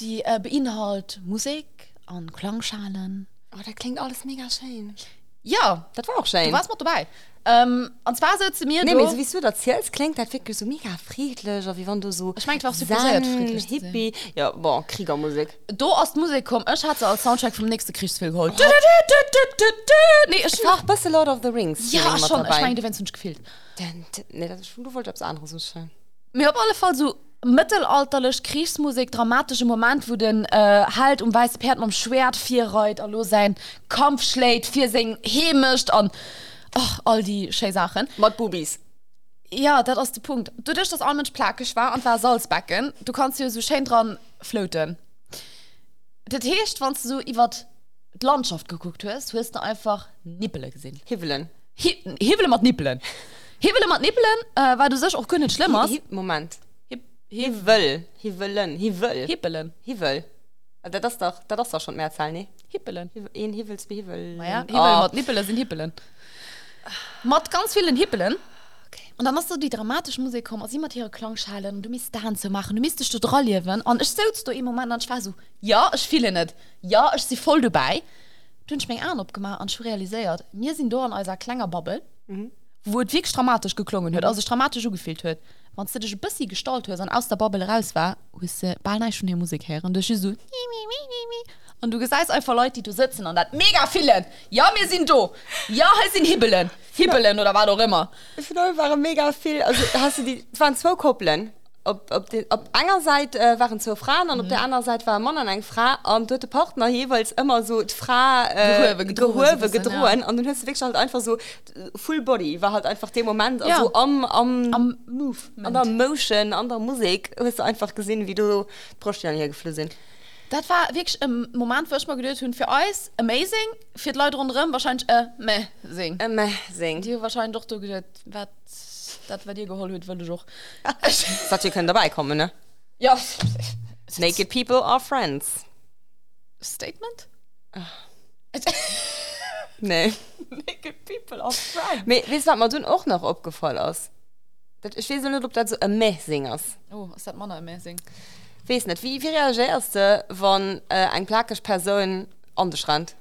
Speaker 2: die äh, beinhaltet Musik und Klangschalen.
Speaker 1: Oh, das klingt alles mega schön.
Speaker 2: Ja,
Speaker 1: Das war auch schön.
Speaker 2: du warst mit dabei. Ähm, und zwar sitzen wir
Speaker 1: Nee,
Speaker 2: da-
Speaker 1: mir, so wie du das erzählst, klingt das wirklich so mega friedlich, oder wie wenn du so
Speaker 2: Ich mein, du warst super
Speaker 1: zen,
Speaker 2: selbstfriedlich zu
Speaker 1: hippie. Ja, boah, Kriegermusik.
Speaker 2: du aus der Musik komm ich hatte als Soundtrack vom nächsten Kriegsfilm geholt du, du, du, du, du, du. nee ich
Speaker 1: War auch ein bisschen Lord of the Rings.
Speaker 2: ja
Speaker 1: Feeling mit
Speaker 2: schon ich
Speaker 1: dabei.
Speaker 2: meine du wenn's uns gefehlt
Speaker 1: Denn, d- nee, das ist schon, du wolltest etwas anderes so schön.
Speaker 2: mir auf alle Fall so mittelalterlich Kriegsmusik dramatische Moment wo den äh, halt um weiße Pferden um Schwert vier reut hallo sein Kampf schlägt vier singen hemischt und ach all die schönen Sachen
Speaker 1: Mod Bubis.
Speaker 2: Ja, das ist der Punkt. Du dich das allmensch plakisch war und war Salzbecken, du kannst hier so schön dran flöten. Das heißt, wenn du so über die Landschaft geguckt hast, hast du einfach Nippel gesehen.
Speaker 1: Hibbeln.
Speaker 2: Hi- Hebel mit Nippeln. Hebel mit Nippeln, äh, weil du siehst auch gar nicht schlimm hast.
Speaker 1: Hi- Moment.
Speaker 2: Hib-
Speaker 1: Hibbel. Hibbeln. Hibbel.
Speaker 2: Hippelen.
Speaker 1: Hibbel. Also Ah, Das ist doch, das ist doch schon Mehrzahl, ne?
Speaker 2: Hippelen.
Speaker 1: Hibbel- Ein Hibbels bei Hibbel.
Speaker 2: Ja,
Speaker 1: Oh.
Speaker 2: Hippel mit Nippeln sind Hippelen. Mit ganz vielen Hippelen. Okay. Und dann hast du die dramatische Musik kommen, also immer ihre Klangschalen und du musst Tanz machen, du musst dich dort rollen. Und ich sitze da im Moment und ich war so, ja, ich fühle nicht. Ja, ich bin voll dabei. Dann habe ich mir einen abgemacht und schon realisiert, wir sind da in unserer Klängerbubble, wo es wirklich dramatisch geklungen hat, also dramatisch gefühlt hat. Wenn du dich ein bisschen gestaltet hast und aus der Bubble raus war, hast du bald nicht schon die Musik her. Und du bist so, mi, mi, mi, mi, mi. Und du siehst einfach Leute, die da sitzen und das mega vielen. Ja, wir sind da. Ja, wir sind Hibbeln. Hibbeln oder was auch immer.
Speaker 1: Für neu waren mega viel. Also hast du die, es waren zwei Koppeln. Ob, ob, den, ob einer Seite äh, waren zwei Frauen und mhm. auf der anderen Seite war ein Mann und eine Frau und dort der Partner jeweils immer so die Frau äh,
Speaker 2: Gehöre gedrohen, so ein
Speaker 1: Gehöre
Speaker 2: bisschen,
Speaker 1: gedrohen ja. und dann hast du wirklich halt einfach so äh, Full Body war halt einfach der Moment
Speaker 2: Ja.
Speaker 1: also am, am,
Speaker 2: Am Movement.
Speaker 1: an der Motion, an der Musik hast du einfach gesehen wie du Bruststellen hier geflogen sind.
Speaker 2: Das war wirklich im Moment, wo ich mal gedacht habe, für euch amazing, für die Leute rundherum wahrscheinlich äh, meh singen.
Speaker 1: Ähm, Amazing.
Speaker 2: Die haben wahrscheinlich doch so gedacht, was das war dir geholt wird, würde ich auch.
Speaker 1: Das hat ihr können dabei kommen ne?
Speaker 2: ja,
Speaker 1: Naked people are friends.
Speaker 2: Statement?
Speaker 1: Nee.
Speaker 2: Naked people are friends.
Speaker 1: Me, weißt du, was mir dann auch noch aufgefallen ist? Das, ich weiß nicht, ob das so ein Meh-Sing ist.
Speaker 2: Oh, ist das Mann amazing.
Speaker 1: Weiß nicht, wie, wie reagierst du, wenn äh, eine plakische Person an dich rennt?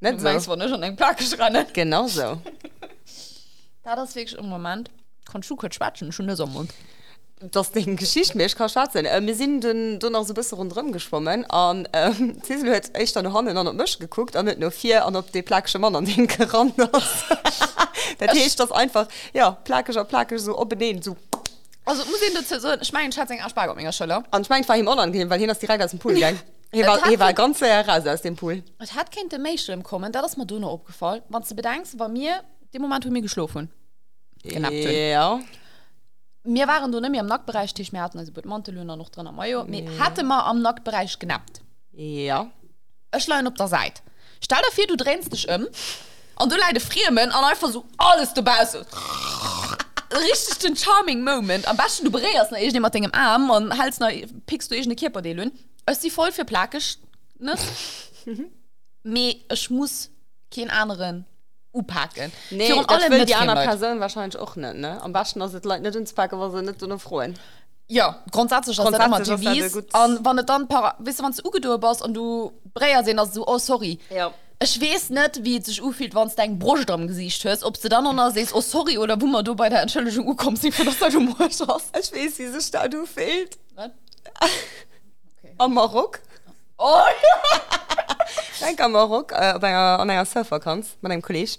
Speaker 1: Nicht
Speaker 2: Du meinst,
Speaker 1: so?
Speaker 2: wo nicht an den Park rennen.
Speaker 1: Genau so.
Speaker 2: Da das wirklich im Moment. Kannst du kurz schwatschen, schon der Sommer.
Speaker 1: Das Ding Geschichte, mir, ich kann schwarz sein. Äh, wir sind dann, dann noch so ein bisschen rundherum geschwommen und ähm, (laughs) Cecil hat echt an der Hand und an mich geguckt und mit nur vier und ob die plakische Mann an den gerannt ist. (laughs) das heißt, das einfach, ja, plakischer, plakisch, so oben hin, so.
Speaker 2: Also, muss ich dazu sagen, ich meine, ich hatte einen Arschbag auf meiner Schule.
Speaker 1: Und ich meine, es war ihm unangenehm, weil hier ist direkt aus dem Pool
Speaker 2: (laughs)
Speaker 1: gegangen. Er war, er war ganz äh, raus aus dem Pool.
Speaker 2: Es hat kein Damage im Kommen, da das mir Donau aufgefallen. Wenn du bedenkst, war mir, dem Moment, wo mir geschlafen. Knapp dünn.
Speaker 1: Ja.
Speaker 2: Wir waren da nicht mehr am Nacktbereich, Tisch, wir hatten also Mantelöner noch drin am Mayo. Wir hatten mal am Nacktbereich genappt.
Speaker 1: Ja.
Speaker 2: Ich leine auf der Seite. Stell dir vor, du drehst dich um und du leide friemen und einfach so (laughs) alles dabei ist. Richtig den charming Moment. Am besten du berührst noch irgendjemand im Arm und hältst noch, pickst du irgendeine Körper die Lön. Ist die voll für plakisch, ne?
Speaker 1: Mhm.
Speaker 2: Me, ich muss keinen anderen upacken.
Speaker 1: Nee,
Speaker 2: Für um
Speaker 1: das
Speaker 2: alle
Speaker 1: will die andere
Speaker 2: mitfrieren, Leute.
Speaker 1: Person wahrscheinlich auch nicht, ne? Am besten, dass die Leute nicht ins Packen, weil sie nicht so frohen.
Speaker 2: ja grundsätzlich, ist das
Speaker 1: Grundsätzlich
Speaker 2: immer
Speaker 1: ist das
Speaker 2: die Wies.
Speaker 1: gut.
Speaker 2: und wann du dann paar weißt du, wann du ugeduld bist und du Breyer sehen dass du oh sorry
Speaker 1: Ja.
Speaker 2: ich weiß nicht wie es sich fühlt wenn du deinen Brust am Gesicht hörst ob du dann noch siehst oh sorry oder wo man du bei der Entschuldigung kommst nicht für das du Brust hast
Speaker 1: Ich weiß, diese Statue fehlt.
Speaker 2: Was?
Speaker 1: Am Marok.
Speaker 2: oh ja
Speaker 1: Denk am Marok, äh, bei einer, an einer Surferkanz mit einem Kollegen.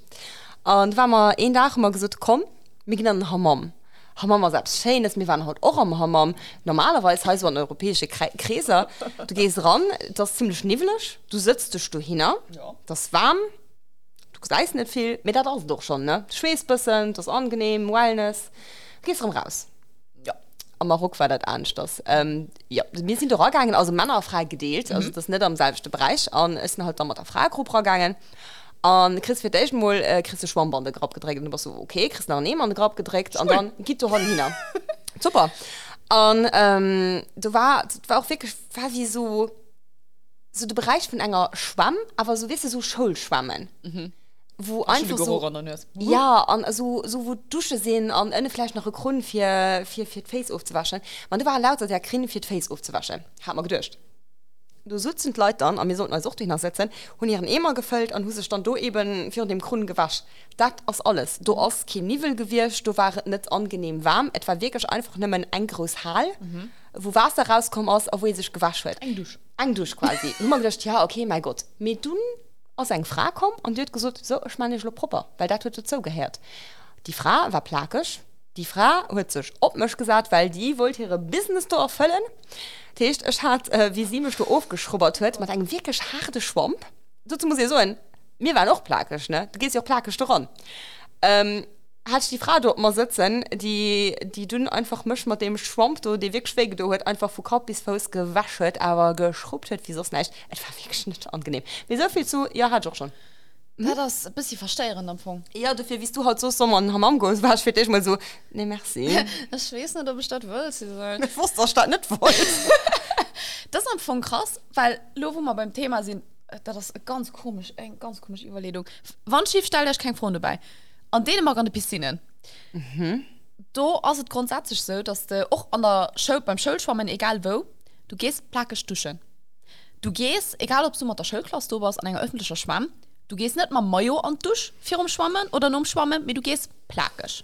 Speaker 1: Und wenn wir einen Tag mal gesagt komm, wir gehen in den Hammam. Hammam war selbst schön, dass wir waren halt auch am Hammam. Normalerweise heißt es eine europäische Krä- Kräser. Du gehst ran, das ist ziemlich nebelig, du sitzt dich da hin,
Speaker 2: Ja.
Speaker 1: das ist warm, du sagst nicht viel, mir das alles doch schon, ne? Du schwebst ein bisschen, das ist angenehm, Wellness. Du gehst ran raus. am Marok war das anders. Ähm, ja, wir sind doch gegangen, also Männerfrage gedeelt, mhm. also das nicht am selben Bereich. Und es sind halt dann mit der Freigruppe gegangen. Und Chris wird erst mal, äh, Chris die Schwammbande grob gedreht. Und du warst so, okay, Chris nach nebenan grob gedreht. Und dann geht du halt hin. Super. Und ähm, du war, das war auch wirklich, war wie so, so der Bereich von einer Schwamm, aber so, weißt du, so Schulschwammen. Mhm. Wo einfach so,
Speaker 2: ja
Speaker 1: ja an so so wo dusche sehen an Ende vielleicht noch Grund für für für die face aufzuwaschen man du war lauter der Krin für die face aufzuwaschen hat man gedurcht du sitzen Leute dann an mir sollten sucht dich nachsetzen und ihren Emer gefällt an Huse stand du eben für dem Grund gewasch das aus alles du aus Chemivel gewirrscht du war nicht angenehm warm etwa wirklich einfach nimmen ein groß Hal mhm. wo Wasser rauskommen aus obwohl sich gewaschen wird
Speaker 2: Englisch
Speaker 1: Angdusch quasi. Und man gedacht, ja, okay, mein Gott. Mit du aus einer Frau kommen und die hat gesagt, so, ich meine, ich lo proper, weil das wird dazu gehört. Die Frau war plakisch. Die Frau hat sich ob mich gesagt, weil die wollte ihre Business da erfüllen. Die heißt, ich hat, äh, wie sie mich da aufgeschrubbert hat, mit einem wirklich harten Schwamp. Dazu muss ich sagen, mir war auch plakisch, ne? Du gehst ja auch plakisch daran. Ähm, hat ich die Frau dort mal sitzen, die, die dünn einfach mich mit dem Schwamm, do, die wirklich weg, do, hat einfach von Kopf bis Fuß gewaschen, aber geschrubbt hat, wie sonst nicht. Es war wirklich nicht angenehm. Wie so viel zu, ja, hat ich auch schon.
Speaker 2: ja das ist ein bisschen versteieren am Anfang
Speaker 1: Ja, dafür, wie du halt so Sommer in Hammam gehst, war ich für dich mal so, nee, merci. (laughs)
Speaker 2: ich weiß nicht ob ich das will sie sollen
Speaker 1: ich wusste, dass ich das nicht wollte.
Speaker 2: Das ist von krass, weil, lo, wo wir beim Thema sind, äh, das ist ganz komisch, eine ganz komische Überlegung. Wann schief stellt euch kein Freund dabei? An Dänemark an den Piscinen. Mhm. Da ist es grundsätzlich so, dass du auch an der Schul, beim Schulschwammen, egal wo, du gehst plakisch duschen. Du gehst, egal ob du mit der Schulklasse da warst, an einem öffentlichen Schwamm, du gehst nicht mal Mayo an den Dusch für umschwammen oder nur umschwammen, aber du gehst plakisch.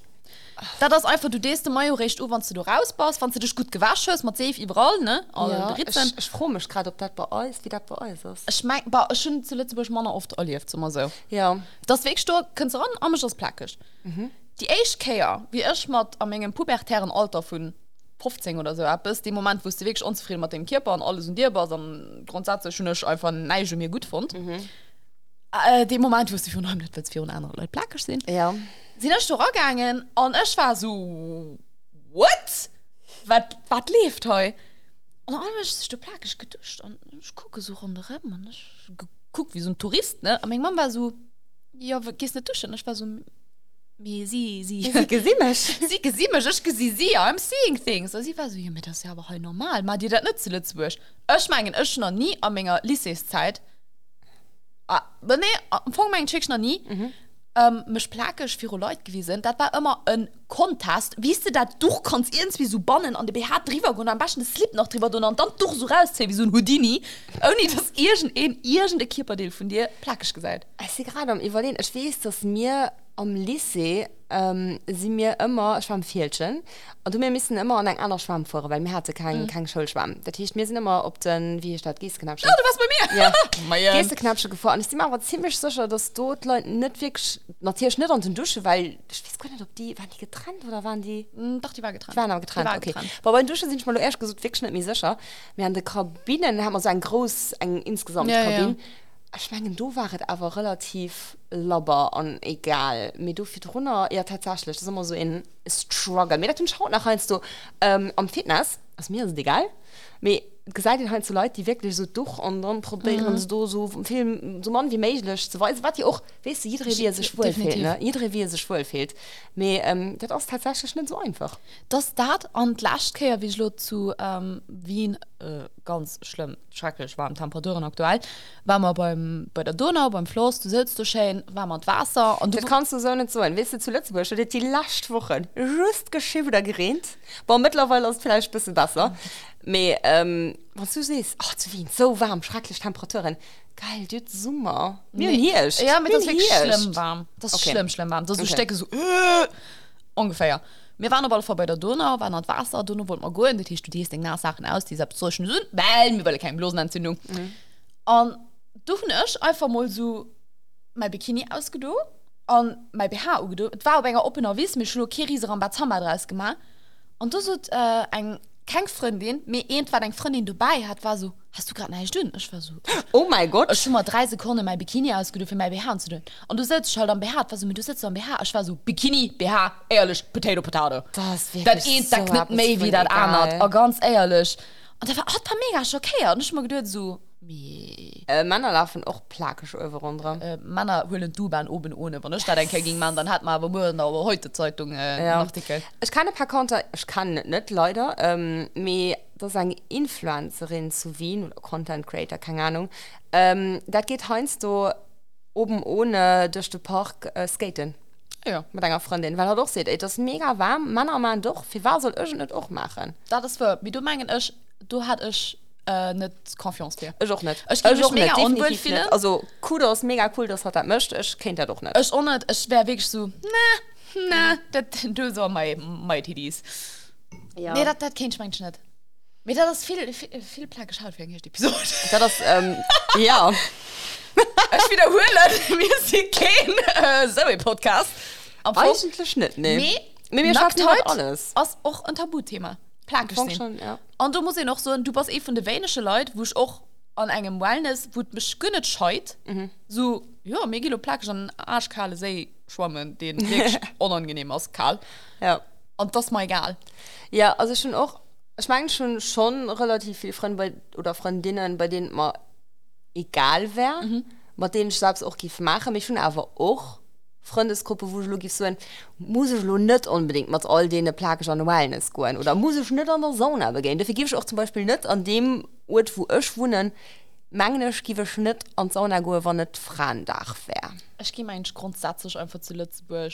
Speaker 2: Da das ist einfach, du gehst den Mayo recht an, wenn du da rausbaust, wenn du dich gut gewaschen hast, mit safe überall, ne? Alle Ritzen.
Speaker 1: ich, ich freue mich gerade, ob das bei euch, wie das bei euch ist.
Speaker 2: Ich mein, bei, schon zu Lützburg Männer oft Olive, immer so.
Speaker 1: Ja.
Speaker 2: Das Weg du, kannst du ran, am ist das plakisch. Mhm. Die Eichkehr, wie ich mit an meinem pubertären Alter von 15 oder so bis dem Moment, wo du wirklich unzufrieden mit dem Körper und alles und dir warst, dann grundsätzlich schon ich einfach nein, ich mir gut fand. Mhm. Äh, dem Moment, wo du von einem nicht willst, für andere Leute plakisch sind
Speaker 1: Ja.
Speaker 2: sind ich da gegangen und ich war so, what? Was, was lebt heute? Und dann ist ich plagisch geduscht und ich gucke so rundherum und ich gu- guck wie so ein Tourist, ne? Und meine Mama war so, ja, wa- gehst nicht duschen? Und ich war so, mir sie, sie.
Speaker 1: Wie gesehen mich?
Speaker 2: sie gesehen mich, ich gesehen sie, I'm seeing things. Und sie war so, ja, mir das ist ja aber halt normal, mal dir das nicht zu Lützburg. Ich meine, ich noch nie an meiner Lycées-Zeit, ah, nee, am Anfang meiner Schick noch nie,
Speaker 1: Mhm.
Speaker 2: ähm, mich plakisch für Leute gewesen. Das war immer ein Kontest, wie du da durch kannst, irgendwie so bannen an der BH drüber gehen, am besten das Slip noch drüber tun und dann durch so rausziehen, wie so ein Houdini, ohne dass irgendein, irgendein Körperteil von dir plakisch gesagt.
Speaker 1: Ich bin gerade am überlegen, ich weiß, dass mir am Lycée ähm, sie mir immer Schwammfehlchen und wir müssen immer an einen anderen Schwamm fahren, weil mir hatte keinen mhm. kein Schulschwamm. Das heißt, wir sind immer ob den, wie ich das gehst, knapp
Speaker 2: Oh, du warst bei mir!
Speaker 1: (laughs) Ja.
Speaker 2: (laughs) Meier.
Speaker 1: Gehst du knapp schon gefahren. Und ich bin mir aber ziemlich sicher, dass dort Leute nicht wirklich, natürlich nicht unter den Dusche, weil ich weiß gar nicht, ob die, waren die getrennt oder waren die...
Speaker 2: Hm, Doch, die war getrennt.
Speaker 1: Die waren aber getrennt,
Speaker 2: Die war
Speaker 1: okay.
Speaker 2: getrennt.
Speaker 1: Bei meinen Duschen sind ich mal erst gesagt, wirklich nicht mehr sicher. Wir haben die Kabinen, haben wir so ein groß, ein insgesamt
Speaker 2: Ja,
Speaker 1: ja, Kabin. Ja. Ich meine, du warst aber relativ lobber und egal. Mir du viel drunter, ja tatsächlich, das ist immer so ein Struggle. Mir das schaut nach eins so, ähm, am Fitness, also mir ist es egal, mir gesagt den halt so Leute, die wirklich so durch und dann probieren mhm. so, so viel, so Mann wie möglich zu weisen, was ja auch, weißt du, jeder wie er sich wohl fehlt,
Speaker 2: Definitiv.
Speaker 1: ne? Jeder wie er sich wohl fehlt. Mir, ähm, das ist tatsächlich nicht so einfach.
Speaker 2: Das dat an Lachtkeier wie lo zu ähm, Wien äh, ganz schlimm schrecklich warm Temperaturen aktuell war man beim bei der Donau beim Floß du sitzt du schön warm und Wasser und du
Speaker 1: Das kannst du so nicht so ein. Weißt du, zu Lützburg schon die letzten Wochen just geschehen wieder gerannt. Aber mittlerweile ist es vielleicht ein bisschen besser. Aber, ähm, was du siehst, ach, zu Wien, so warm, schreckliche Temperaturen. Geil, du Sommer. Mir nee. Hirsch.
Speaker 2: Ja, mit
Speaker 1: Mir
Speaker 2: das wirklich
Speaker 1: Hirsch.
Speaker 2: schlimm warm. Das ist
Speaker 1: Okay.
Speaker 2: schlimm, schlimm warm. Das okay.
Speaker 1: Okay.
Speaker 2: stecke so, äh, ungefähr. Wir waren aber vorbei der Donau, waren an Wasser, Donau wollten wir gehen, da hast du die nach Sachen aus, die selbst solchen sind, weil wir wollen keine Blosenentzündung. Mhm. Und du hast einfach mal so mein Bikini ausgedo und mein BH ugedo. Es war aber ein offener Wies, mir schlug Kiri so ein Bazamba draus gemacht. Und du so äh, ein keine Freundin, mir irgendwann eine Freundin dabei hat, war so, hast du gerade eine Stunde? Ich war so,
Speaker 1: Oh mein Gott.
Speaker 2: Ich schon mal drei Sekunden mein Bikini ausgedacht für mein BH zu tun. Und du sitzt halt am BH, was du mir, du sitzt am BH. Ich war so, Bikini, BH, ehrlich, Potato, Potato.
Speaker 1: Das ist wirklich
Speaker 2: Das ist,
Speaker 1: so
Speaker 2: das knippt
Speaker 1: etwas
Speaker 2: mir
Speaker 1: von
Speaker 2: wie das
Speaker 1: egal.
Speaker 2: anhat. Oh, ganz ehrlich. Und da war, oh, das war mega schockiert. Und ich hab mir gedacht so, meh.
Speaker 1: Äh, Männer laufen auch plakisch über runter.
Speaker 2: äh, Männer wollen du beim oben ohne. Wenn ich da denke gegen Mann, dann hat man aber morgen aber heute Zeitung äh, ja.
Speaker 1: Ja.
Speaker 2: Artikel.
Speaker 1: Ich kann ein paar Konter, ich kann nicht, nicht leider, ähm, mir da sagen Influencerin zu Wien oder Content Creator, keine Ahnung. Ähm, das geht heinz du oben ohne durch den Park äh, skaten
Speaker 2: Ja.
Speaker 1: mit deiner Freundin, weil er doch sieht, ey, das ist mega warm, Mann, oh Mann, doch, wie war soll ich nicht auch machen?
Speaker 2: Das ist für, wie du meinst, ich, du hat ich äh, nicht Confiance für.
Speaker 1: Ich auch nicht.
Speaker 2: Ich kann mich
Speaker 1: auch
Speaker 2: mega unwohl
Speaker 1: definitiv
Speaker 2: fühlen.
Speaker 1: nicht. Also, Kudos, mega cool, dass er das möchte, ich kenne das doch nicht.
Speaker 2: Ich ohne, ich wäre wirklich so, na, na, das, (laughs) du so mein, mein TDs. Ja. Nee, das, das kenn ich manchmal nicht. Mir hat das viel, viel, viel platt geschaut wegen der Episode. (laughs) ich
Speaker 1: das, ist, ähm, ja,
Speaker 2: (laughs) wiederhole, wir sind kein äh, Zoe-Podcast. Am Anfang-
Speaker 1: eigentlich nicht, nee.
Speaker 2: Nee,
Speaker 1: Mir, mir schafft
Speaker 2: Nacktheit
Speaker 1: halt alles.
Speaker 2: ist auch ein Tabuthema. Platt
Speaker 1: Fang
Speaker 2: gesehen.
Speaker 1: schon, ja.
Speaker 2: Und du musst ja noch so, du bist eh von den wenigsten Leuten, wo ich auch an einem Wellness, wo es mich gar nicht scheut, mhm. so, ja, mir geht platt schon arschkahle See schwammen, den wirklich unangenehm ist, kahl.
Speaker 1: ja.
Speaker 2: Und das ist mir egal.
Speaker 1: Ja, also schon auch, ich meine schon, schon relativ viele Freunde bei, oder Freundinnen, bei denen man egal wäre, mit denen ich selbst auch GIF mache, mich schon aber auch Freundesgruppe, wo ich lo GIF so ein, muss ich lo nicht unbedingt mit all denen plagisch an Wellness gehen oder muss ich nicht an der Sauna begehen. Dafür gebe ich auch zum Beispiel nicht an dem Ort, wo ich wohne, meine ich gebe ich nicht an die Sauna gehen, wenn nicht Freitag wäre.
Speaker 2: Ich gehe eigentlich grundsätzlich einfach zu Lützburg.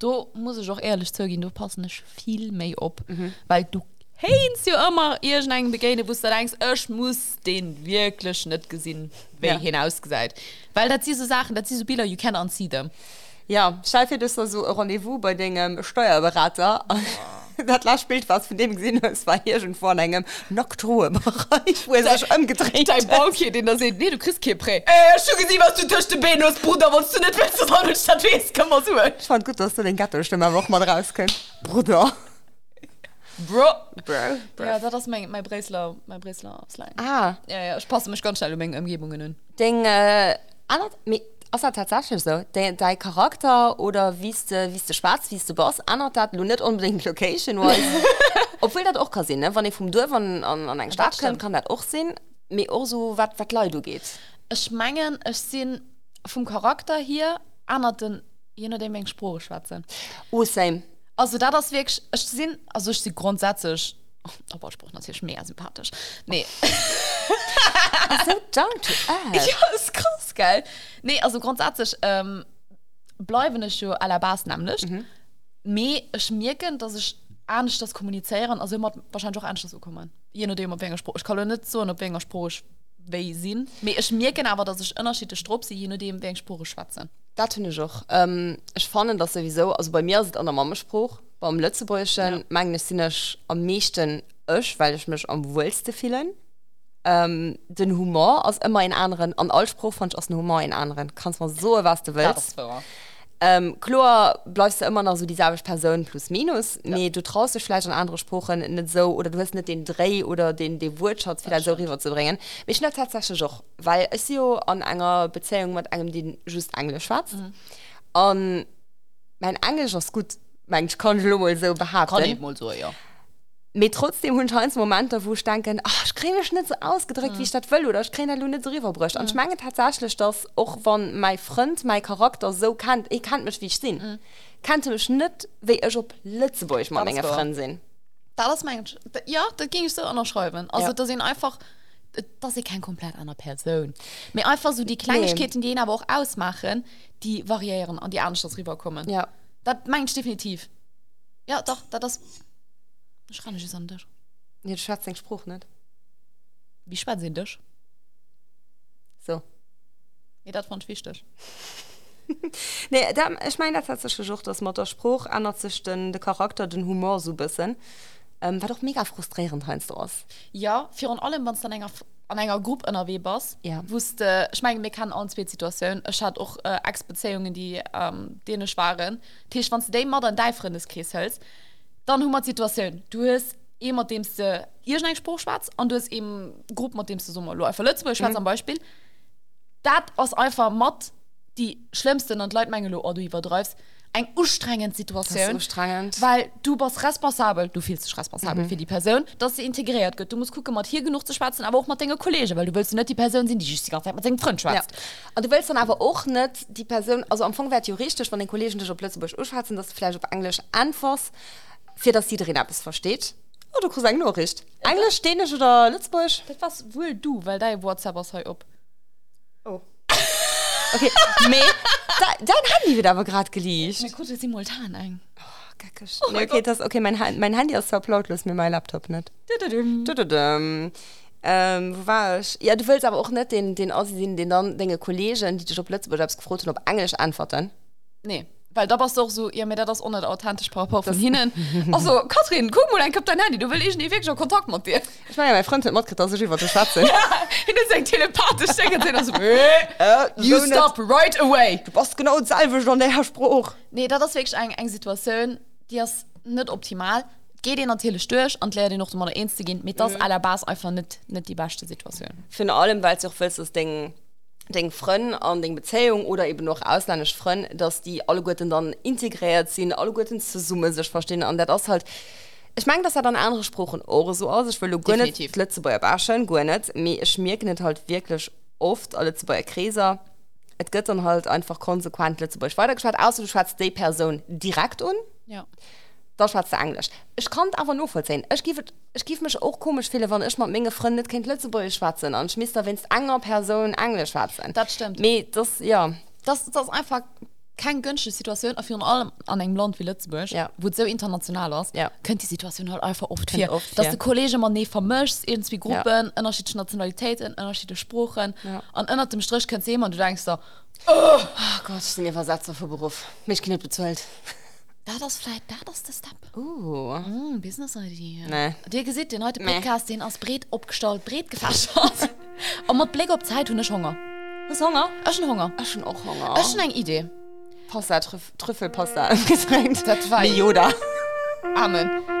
Speaker 2: Da muss ich auch ehrlich zugeben, du passt nicht viel mehr ab. Weil du heinst ja immer irgendeinen Begegner, wo du denkst, ich muss den wirklich nicht gesehen, wer ja.
Speaker 1: Ja.
Speaker 2: hinausgesagt. Weil das sind so Sachen, das sind so Bilder, you can't unsee them.
Speaker 1: Ja, Scheife, das war so ein Rendezvous bei dem ähm, Steuerberater.
Speaker 2: Ah.
Speaker 1: (laughs) Das letzte Bild, was von dem gesehen habe, es war hier schon vorne in einem Noctruhe-Bereich, wo er sich umgedreht
Speaker 2: Dein
Speaker 1: hat.
Speaker 2: Bauch hier, den da sieht, nee, du kriegst kein Prä. Äh, schon gesehen, was du durch die Beine hast, Bruder, wolltest du nicht, wenn du so nicht statt wehst, kann man so hören.
Speaker 1: Ich fand gut, dass du den Gattelstimme auch mal rauskennst. Bruder.
Speaker 2: Bro.
Speaker 1: Bro.
Speaker 2: Ja, das ist mein, mein Breslau, mein Breslau-Slang.
Speaker 1: Ah,
Speaker 2: Ja, ja, ich passe mich ganz schnell um meine Umgebungen hin.
Speaker 1: den, äh, anders, außer tatsächlich so, den, dein Charakter oder wie ist der, wie ist der Schwarz, wie ist der Boss, anders hat nur nicht unbedingt (laughs) Location-wise. Obwohl das auch kann sein, ne? Wenn ich vom Dorf an, an, an eine Stadt komme,
Speaker 2: stimmt.
Speaker 1: kann das auch sein. Mir auch so, was Leute geht.
Speaker 2: ich mengen ich sehen vom Charakter hier anderen den je nachdem wegen Spruch schwatzen
Speaker 1: Oh, same.
Speaker 2: also da das wirklich ich sehen also ich sie grundsätzlich oh, aber Spruch natürlich mehr sympathisch nee
Speaker 1: so down to earth.
Speaker 2: (laughs) ja ist krass geil nee also grundsätzlich ähm, bleiben ich schon aller Bas nämlich mhm. mehr ich merken dass ich ernst das kommunizieren also immer wahrscheinlich auch ernst das kommen je nachdem ob wegen Spruch ich kann ja nicht so und ob wegen Spruch sehen mir ich merken aber dass ich unterschiedliche Strupse je nachdem wegen Spruch schwatzen
Speaker 1: Das finde ich auch. Ähm, ich fand das sowieso, also bei mir ist es an der Mama-Spruch, beim Lützebäuerchen ja. meine ich sind ich am meisten ich, weil ich mich am wohlsten fühle. Ähm, den Humor ist immer in anderen, an Allspruch fand ich aus dem Humor in anderen. Kannst mal so, was du willst.
Speaker 2: wahr
Speaker 1: Ähm, klar bleibst du immer noch so dieselbe Person plus minus. Ja. Nee, du traust dich vielleicht an andere Sprachen nicht so oder du hast nicht den Dreh oder den, den Wortschatz wieder so rüberzubringen. Mich nervt tatsächlich auch, weil ich ja an einer Beziehung mit einem, den just Englisch schwatzt. Mhm. Und mein Englisch ist gut. Mein, ich kann schon mal so behaupten.
Speaker 2: Kann ich mal so, ja.
Speaker 1: Mir trotzdem hun scheint Momente, wo ich denke, ach, ich kriege mich nicht so ausgedrückt, mhm. wie ich das will, oder ich kriege das nur nicht so rüberbrüscht. Mhm. Und ich meine tatsächlich, dass auch wenn mein Freund mein Charakter so kennt, ich kannte mich, er wie ich bin, mhm. kannte mich nicht, wie ich auf Lützeburg mal
Speaker 2: Das ist
Speaker 1: meine
Speaker 2: wahr.
Speaker 1: Freund sehen.
Speaker 2: Da das mein, ja, das ging ich so anders schreiben. Also,
Speaker 1: Ja.
Speaker 2: ja. da sind einfach, das ist kein komplett anderer Person. Mir einfach so die Kleinigkeiten, die ihn aber auch ausmachen, die variieren und die anders rüberkommen.
Speaker 1: Ja.
Speaker 2: Das meine ich definitiv. Ja, doch, da das. Ich kann nicht an dich.
Speaker 1: Nee, du schaffst den Spruch nicht.
Speaker 2: Wie spät sind dich?
Speaker 1: So.
Speaker 2: Ja, das fand ich wichtig.
Speaker 1: Nee, da, ich meine, das hat sich gesucht, dass man der Spruch ändert sich den, den Charakter, den Humor so ein bisschen. Ähm, war doch mega frustrierend, heinst du aus.
Speaker 2: Ja, für und allem, wenn es dann enger, an einer Gruppe NRW bist,
Speaker 1: Ja.
Speaker 2: wusste, äh, ich meine, mir kann auch in zwei Situationen, ich hatte auch äh, Ex-Beziehungen, die ähm, dänisch waren, Tisch, wenn du den Mörder in deinem Freundeskreis hältst, dann haben wir die Situation, du hast eh eben mit dem du irgendeinen äh, Spruch schwarz und du hast eben Gruppen, mit dem du so mal Läufer Lützburg
Speaker 1: Mhm.
Speaker 2: schwarz am Beispiel, das ist einfach Mod die schlimmsten und Leute meinen, oh, du übertreibst, eine anstrengende Situation.
Speaker 1: Das ist anstrengend.
Speaker 2: Weil du bist responsabel, du fühlst dich responsabel mhm. für die Person, dass sie integriert wird. Du musst gucken, mit hier genug zu schwatzen, aber auch mit deinen Kollegen, weil du willst nicht die Person sein, die sich die ganze Zeit mit deinem Freund
Speaker 1: Ja.
Speaker 2: schwatzt.
Speaker 1: Und du willst dann aber auch nicht die Person, also am Anfang wäre theoretisch, wenn den Kollegen dich auf Plötzlich ausschätzen, dass du vielleicht auf Englisch anfährst, für das sie drin etwas versteht. Oder du kriegst eine Nachricht. Englisch, Dänisch oder Lützburg?
Speaker 2: Das warst wohl du, weil dein WhatsApp ist heute ab.
Speaker 1: Oh. Okay, (laughs) meh. Da, dein Handy wird aber gerade geleakt.
Speaker 2: Mir guckt es simultan ein.
Speaker 1: Oh nee, okay, das, okay, mein, Han- mein Handy ist verplautlos, mir mein Laptop nicht.
Speaker 2: Dududum.
Speaker 1: Tududum. Ähm, wo war ich? Ja, du willst aber auch nicht den, den aussehen, den dann deine Kollegen, die dich auf Plötzlich gefragt haben, ob Englisch antworten.
Speaker 2: Nee, weil da warst du auch so, ja, mir das ist auch nicht authentisch, Papa, von (laughs) hinten. Also, Katrin, guck mal, dann kommt dein Handy, du willst ich nicht wirklich schon Kontakt mit dir. (laughs)
Speaker 1: Ich meine, mein Freund hat Mordkrieg, dass ich über zu (laughs) schwatzen.
Speaker 2: Hinten ist ein telepathisch, denken sie das so, äh, you
Speaker 1: so
Speaker 2: stop right away.
Speaker 1: Du brauchst genau dasselbe schon der Herr Spruch.
Speaker 2: Nee, das ist wirklich eine, eine Situation, die ist nicht optimal. Geh dir natürlich durch und lerne dir noch mal eins zu gehen. Mit das mhm. aller Bas einfach nicht, nicht die beste Situation.
Speaker 1: Vor allem, weil es auch willst, dass den, den Freunden an den Beziehungen oder eben noch ausländische Freunden, dass die alle Guten dann integriert sind, alle Guten zusammen sich verstehen. Und das ist halt, ich meine, das hat dann andere Sprachen auch so aus. Ich will auch gar nicht
Speaker 2: Definitiv.
Speaker 1: das Lützebäuer bashen, gar nicht. Aber ich merke nicht halt wirklich oft alle Lützebäuer Krise. Es geht dann halt einfach konsequent Lützebäuer weitergeschaut, außer du schätzt die Person direkt an.
Speaker 2: Ja.
Speaker 1: da schwarz der Englisch. Ich kann es aber nur vollziehen. Ich gebe, ich gebe mich auch komisch viele, wenn ich mit meinen Freunden nicht kein Lützebäuer schwatzen und ich müsste, wenn es einer Person Englisch schwatzen.
Speaker 2: Das stimmt.
Speaker 1: Me, das, ja.
Speaker 2: Das, das ist einfach keine günstige Situation, auf jeden Fall an einem Land wie Lützburg,
Speaker 1: Ja.
Speaker 2: wo es so international ist,
Speaker 1: Ja.
Speaker 2: könnte die Situation halt einfach oft
Speaker 1: Könnt
Speaker 2: hier,
Speaker 1: oft,
Speaker 2: dass
Speaker 1: ja.
Speaker 2: die Kollegen mal nicht vermischst, irgendwie Gruppen, unterschiedliche Nationalitäten, unterschiedliche Sprachen.
Speaker 1: Ja.
Speaker 2: Und unter dem Strich kannst du jemanden, du denkst so,
Speaker 1: Oh Gott, ich bin ja Versatzer für Beruf. Mich kann nicht bezahlt.
Speaker 2: da das vielleicht, da das der Step.
Speaker 1: Uh.
Speaker 2: Mm, Business Idee.
Speaker 1: Nee.
Speaker 2: Dir gesehen, den heute
Speaker 1: Nee.
Speaker 2: Podcast, den aus Bret abgestaut, Bret gefasst hat. Und mit Blick auf die Zeit, habe ich Hunger.
Speaker 1: Hast du Hunger?
Speaker 2: Hast du Hunger?
Speaker 1: Ich schon auch Hunger.
Speaker 2: Hast du eine Idee?
Speaker 1: (laughs) Pasta, Trüff Trüffelpasta im Getränk.
Speaker 2: Das war-
Speaker 1: Wie Yoda.
Speaker 2: Amen.